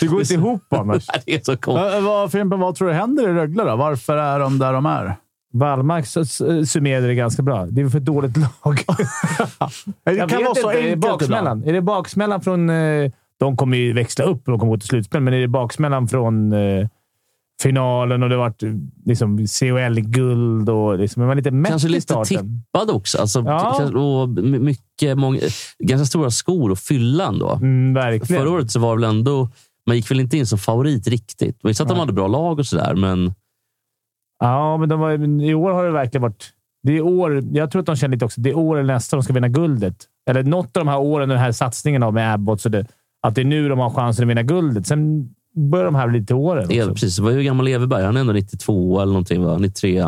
D: Det går inte ihop annars.
B: Det är så konstigt.
C: Ä- Eh, Vad, Fimpen, vad tror du händer i Rögle då? Varför är de där de är? Eh,
D: Wallmark s- s- summerade det ganska bra. Det är för dåligt lag.
C: Det
D: Jag
C: kan
D: vet
C: vara så
D: inte. är det
C: enkelt ibland.
D: baksmällan? Är det baksmällan från... eh, De kommer ju växla upp och komma gå till slutspel, men är det baksmällan från eh, finalen och det har varit eh, liksom, CHL-guld och liksom, är man lite mätt
B: Kanske
D: i
B: lite
D: starten?
B: tippad också. Alltså,
D: Ja.
B: kanske- och m- mycket, många, ganska stora skor att fylla ändå.
D: Mm, verkligen.
B: Förra året så var väl ändå... Man gick väl inte in som favorit riktigt. Visst att de
D: Nej.
B: hade bra lag och sådär, men
D: Ja, men de var, men i år har det verkligen varit... Det är år, jag tror att de känner lite också det är år eller nästa de ska vinna guldet. Eller något av de här åren, den här satsningen av med Abbott, så det, att det är nu de har chansen att vinna guldet. Sen börjar de här bli lite åren.
B: det är,
D: också.
B: precis. Hur gammal är Everberg? Han är ändå 92 eller någonting, va? 93.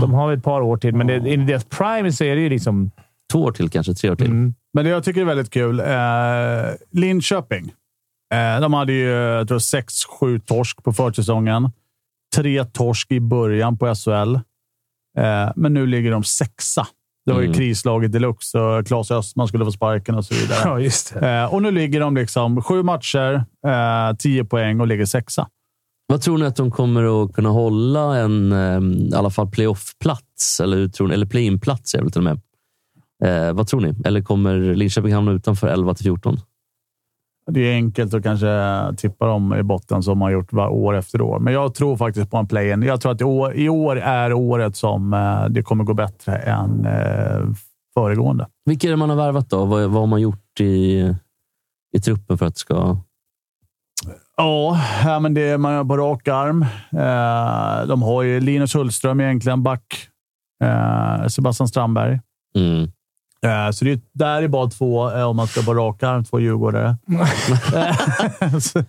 D: De har väl ett par år till, men det, i deras prime så är det ju liksom...
B: Två år till kanske, tre år till.
D: Mm,
C: Men det jag tycker är väldigt kul. Eh, Linköping. Eh, de hade ju, jag tror, sex, sju torsk på försäsongen. Tre torsk i början på SHL. Eh, men nu ligger de sexa. Det var ju
B: Mm.
C: krislaget deluxe och Claes Östman skulle få sparken och så vidare.
D: ja, just det.
C: Eh, och nu ligger de liksom sju matcher, eh, tio poäng och ligger sexa.
B: Vad tror ni att de kommer att kunna hålla en eh, i alla fall playoff-plats? Eller, hur tror ni? eller play-in-plats är det väl till och med. Eh, vad tror ni? Eller kommer Linköping hamna utanför 11 till 14?
C: Det är enkelt att kanske tippa dem i botten som man gjort var- år efter år. Men jag tror faktiskt på en play-in. Jag tror att i år, i år är året som eh, det kommer gå bättre än eh, föregående.
B: Vilka är det man har värvat då? Vad, vad har man gjort i, i truppen för att det ska...
C: Ja, ja, men det är man på rak arm. Eh, De har ju Linus Hultström egentligen, back. Eh, Sebastian Strandberg.
B: Mm.
C: Eh, Så det är, där är bara två, eh, om man ska vara rak arm, två djurgårdare. Eh, så- eh,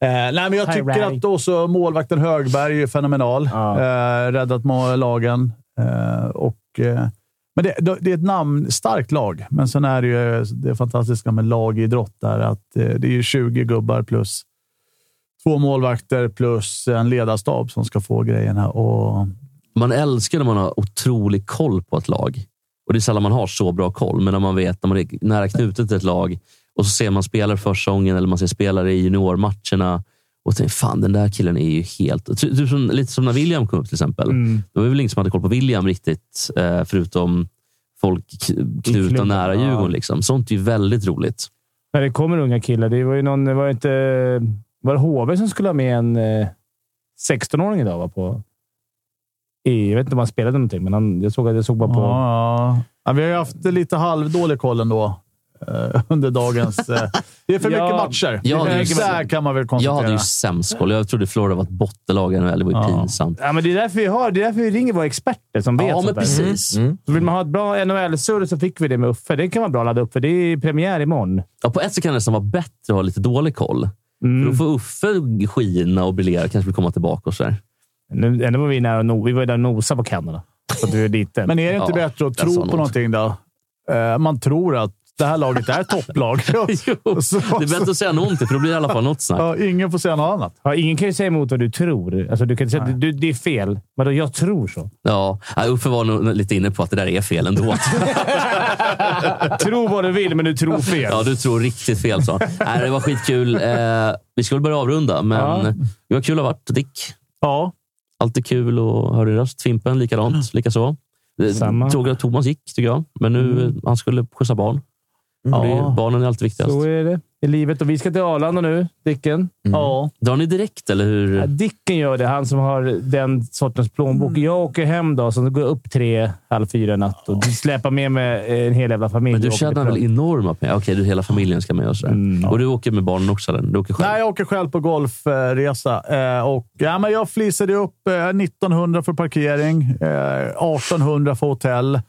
C: Nej, men jag
D: Hi,
C: tycker
D: Rally.
C: att också målvakten Högberg är ju fenomenal.
D: Ja.
C: Eh, Räddat må- lagen. Eh, Och, eh, men det, det är ett namn, starkt lag, men sen är det ju eh, det fantastiska med lagidrott. Där, att eh, det är ju 20 gubbar plus två målvakter plus en ledarstab som ska få grejerna. Och,
B: Man älskar när man har otrolig koll på ett lag. Och Det är sällan man har så bra koll, men när man vet när man är nära knutet till ett lag och så ser man spelare för säsongen eller man ser spelare i juniormatcherna och tänker fan, den där killen är ju helt... Ty- Typ som, lite som när William kom upp till exempel.
D: Mm.
B: Det var väl ingen som hade koll på William riktigt, eh, förutom folk k- knutna
D: klubben,
B: nära
D: ja.
B: Djurgården. Liksom. Sånt är ju väldigt roligt.
D: När det kommer unga killar. Det var ju någon... Det var ju inte... Var det HV som skulle ha med en eh, 16-åring idag? Va, på, i, jag vet inte om han spelade någonting, men han, jag, såg, jag såg bara på...
C: Ja, ja. ja, vi har ju haft lite halvdålig koll ändå eh, under dagens... Eh, det är för
D: Ja.
C: mycket matcher.
B: Ja, det är
C: så här kan man väl
B: Jag hade
C: konstatera.
B: ju sämst koll. Jag trodde Florida var ett bottenlag i NHL. Det var ju
C: Ja.
B: pinsamt.
D: Ja, men det är därför vi har, det är därför vi ringer våra experter som vet
B: Ja,
D: sånt
B: men
D: där.
B: precis.
D: Så vill man ha ett bra NHL-surr så fick vi det med Uffe. Det kan vara bra att ladda upp, för det är premiär imorgon.
B: Ja, på ett sätt kan det nästan vara bättre att ha lite dålig koll.
D: Mm.
B: För då får Uffe skina och briljera kanske vill komma tillbaka och sådär.
D: Nu, ändå var vi nära att no, Vi var ju där och nosade på Kanada. Så att du är lite.
C: Men är det inte
B: Ja,
C: bättre att
B: där sa
C: tro
B: någon.
C: på någonting då? Eh, man tror att det här laget är topplag.
B: Jo,
C: Så-
B: det är bättre att säga någonting, för då blir det i alla fall något snack.
C: Ja, ingen får säga något annat.
D: ja, ingen kan ju säga emot vad du tror. Alltså, du kan inte säga, att du, det är fel. Vadå, jag tror så.
B: Ja, nej, Uffe var nog lite inne på att det där är fel ändå.
D: tro vad du vill, men du tror fel.
B: Ja, du tror riktigt fel, sa han. Nej, Det var skitkul. Eh, vi ska väl börja avrunda, men
D: Ja.
B: det var kul att ha varit. Dick,
C: Ja,
B: alltid kul att höra din röst. Fimpen, likadant. Likaså. Eh,
D: Mm. Samma. Mm.
B: Tråkigt att Thomas gick, tycker jag. Men nu, han skulle skjutsa barn. Och det,
C: Ja.
B: barnen är alltid viktigast.
D: Så är det i livet. Och vi ska till Arlanda nu, Dicken.
B: Mm.
C: ja.
B: Drar ni direkt, eller hur?
D: Ja, Dicken gör det. Han som har den sortens plånbok.
C: Mm.
D: Jag åker hem då, så går jag upp tre, halv fyra i natt och släpar med mig en hel jävla familj.
B: Men du
D: och åker
B: tjänar
D: till
B: väl
D: Arlanda.
B: enorma pengar? Okej, du hela familjen ska med och sådär.
E: Mm.
B: Och du åker med barnen också? Eller? Du åker själv?
C: Nej, jag åker själv på golfresa. Eh, och, ja, men jag flisade upp eh, 1900 för parkering, eh, 1800 för hotell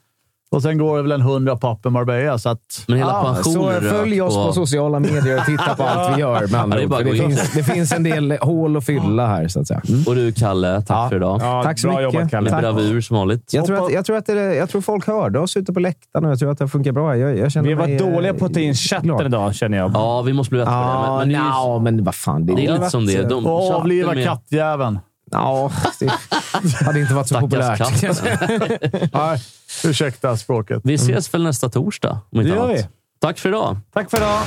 C: och sen går det väl en 100 på Upper Marbella. Så att,
B: Men hela
C: Ja,
B: pensionen
E: Ah, Så
B: rök
E: följ oss på sociala medier och titta på allt vi gör med andra
B: Ja, det är
E: ord.
B: bara
E: För det,
B: att gå in.
E: finns, det finns en del hål att fylla här, så att säga.
B: Och du, Kalle, tack
E: Ja.
B: för idag.
D: Mm. Ja,
E: Tack så
D: bra
E: mycket.
D: Jobbat, Kalle.
B: Med
E: Tack.
B: bravur som vanligt.
E: Jag tror, att, jag, tror att det, jag tror folk hörde oss ute på läktaren och jag tror att det funkar bra. Jag, jag känner
D: Vi var
E: mig, eh,
D: dåliga på att ta in
E: glad.
D: chatten idag, känner jag.
B: Ja, vi måste bli bättre på det.
E: Ja,
B: Men, men det, är
E: nja, men vad fan.
B: ju, det är
E: har
B: lite som det är. De,
C: och avliva
B: chatten med-
C: kattjäveln.
E: Ja, det hade inte varit så
B: Stackars
E: populärt.
B: katten.
C: Nej, ursäkta språket.
B: Vi ses väl nästa torsdag, om
D: Det
B: inte
D: gör
B: annat.
D: vi.
B: Tack för idag.
D: Tack för idag!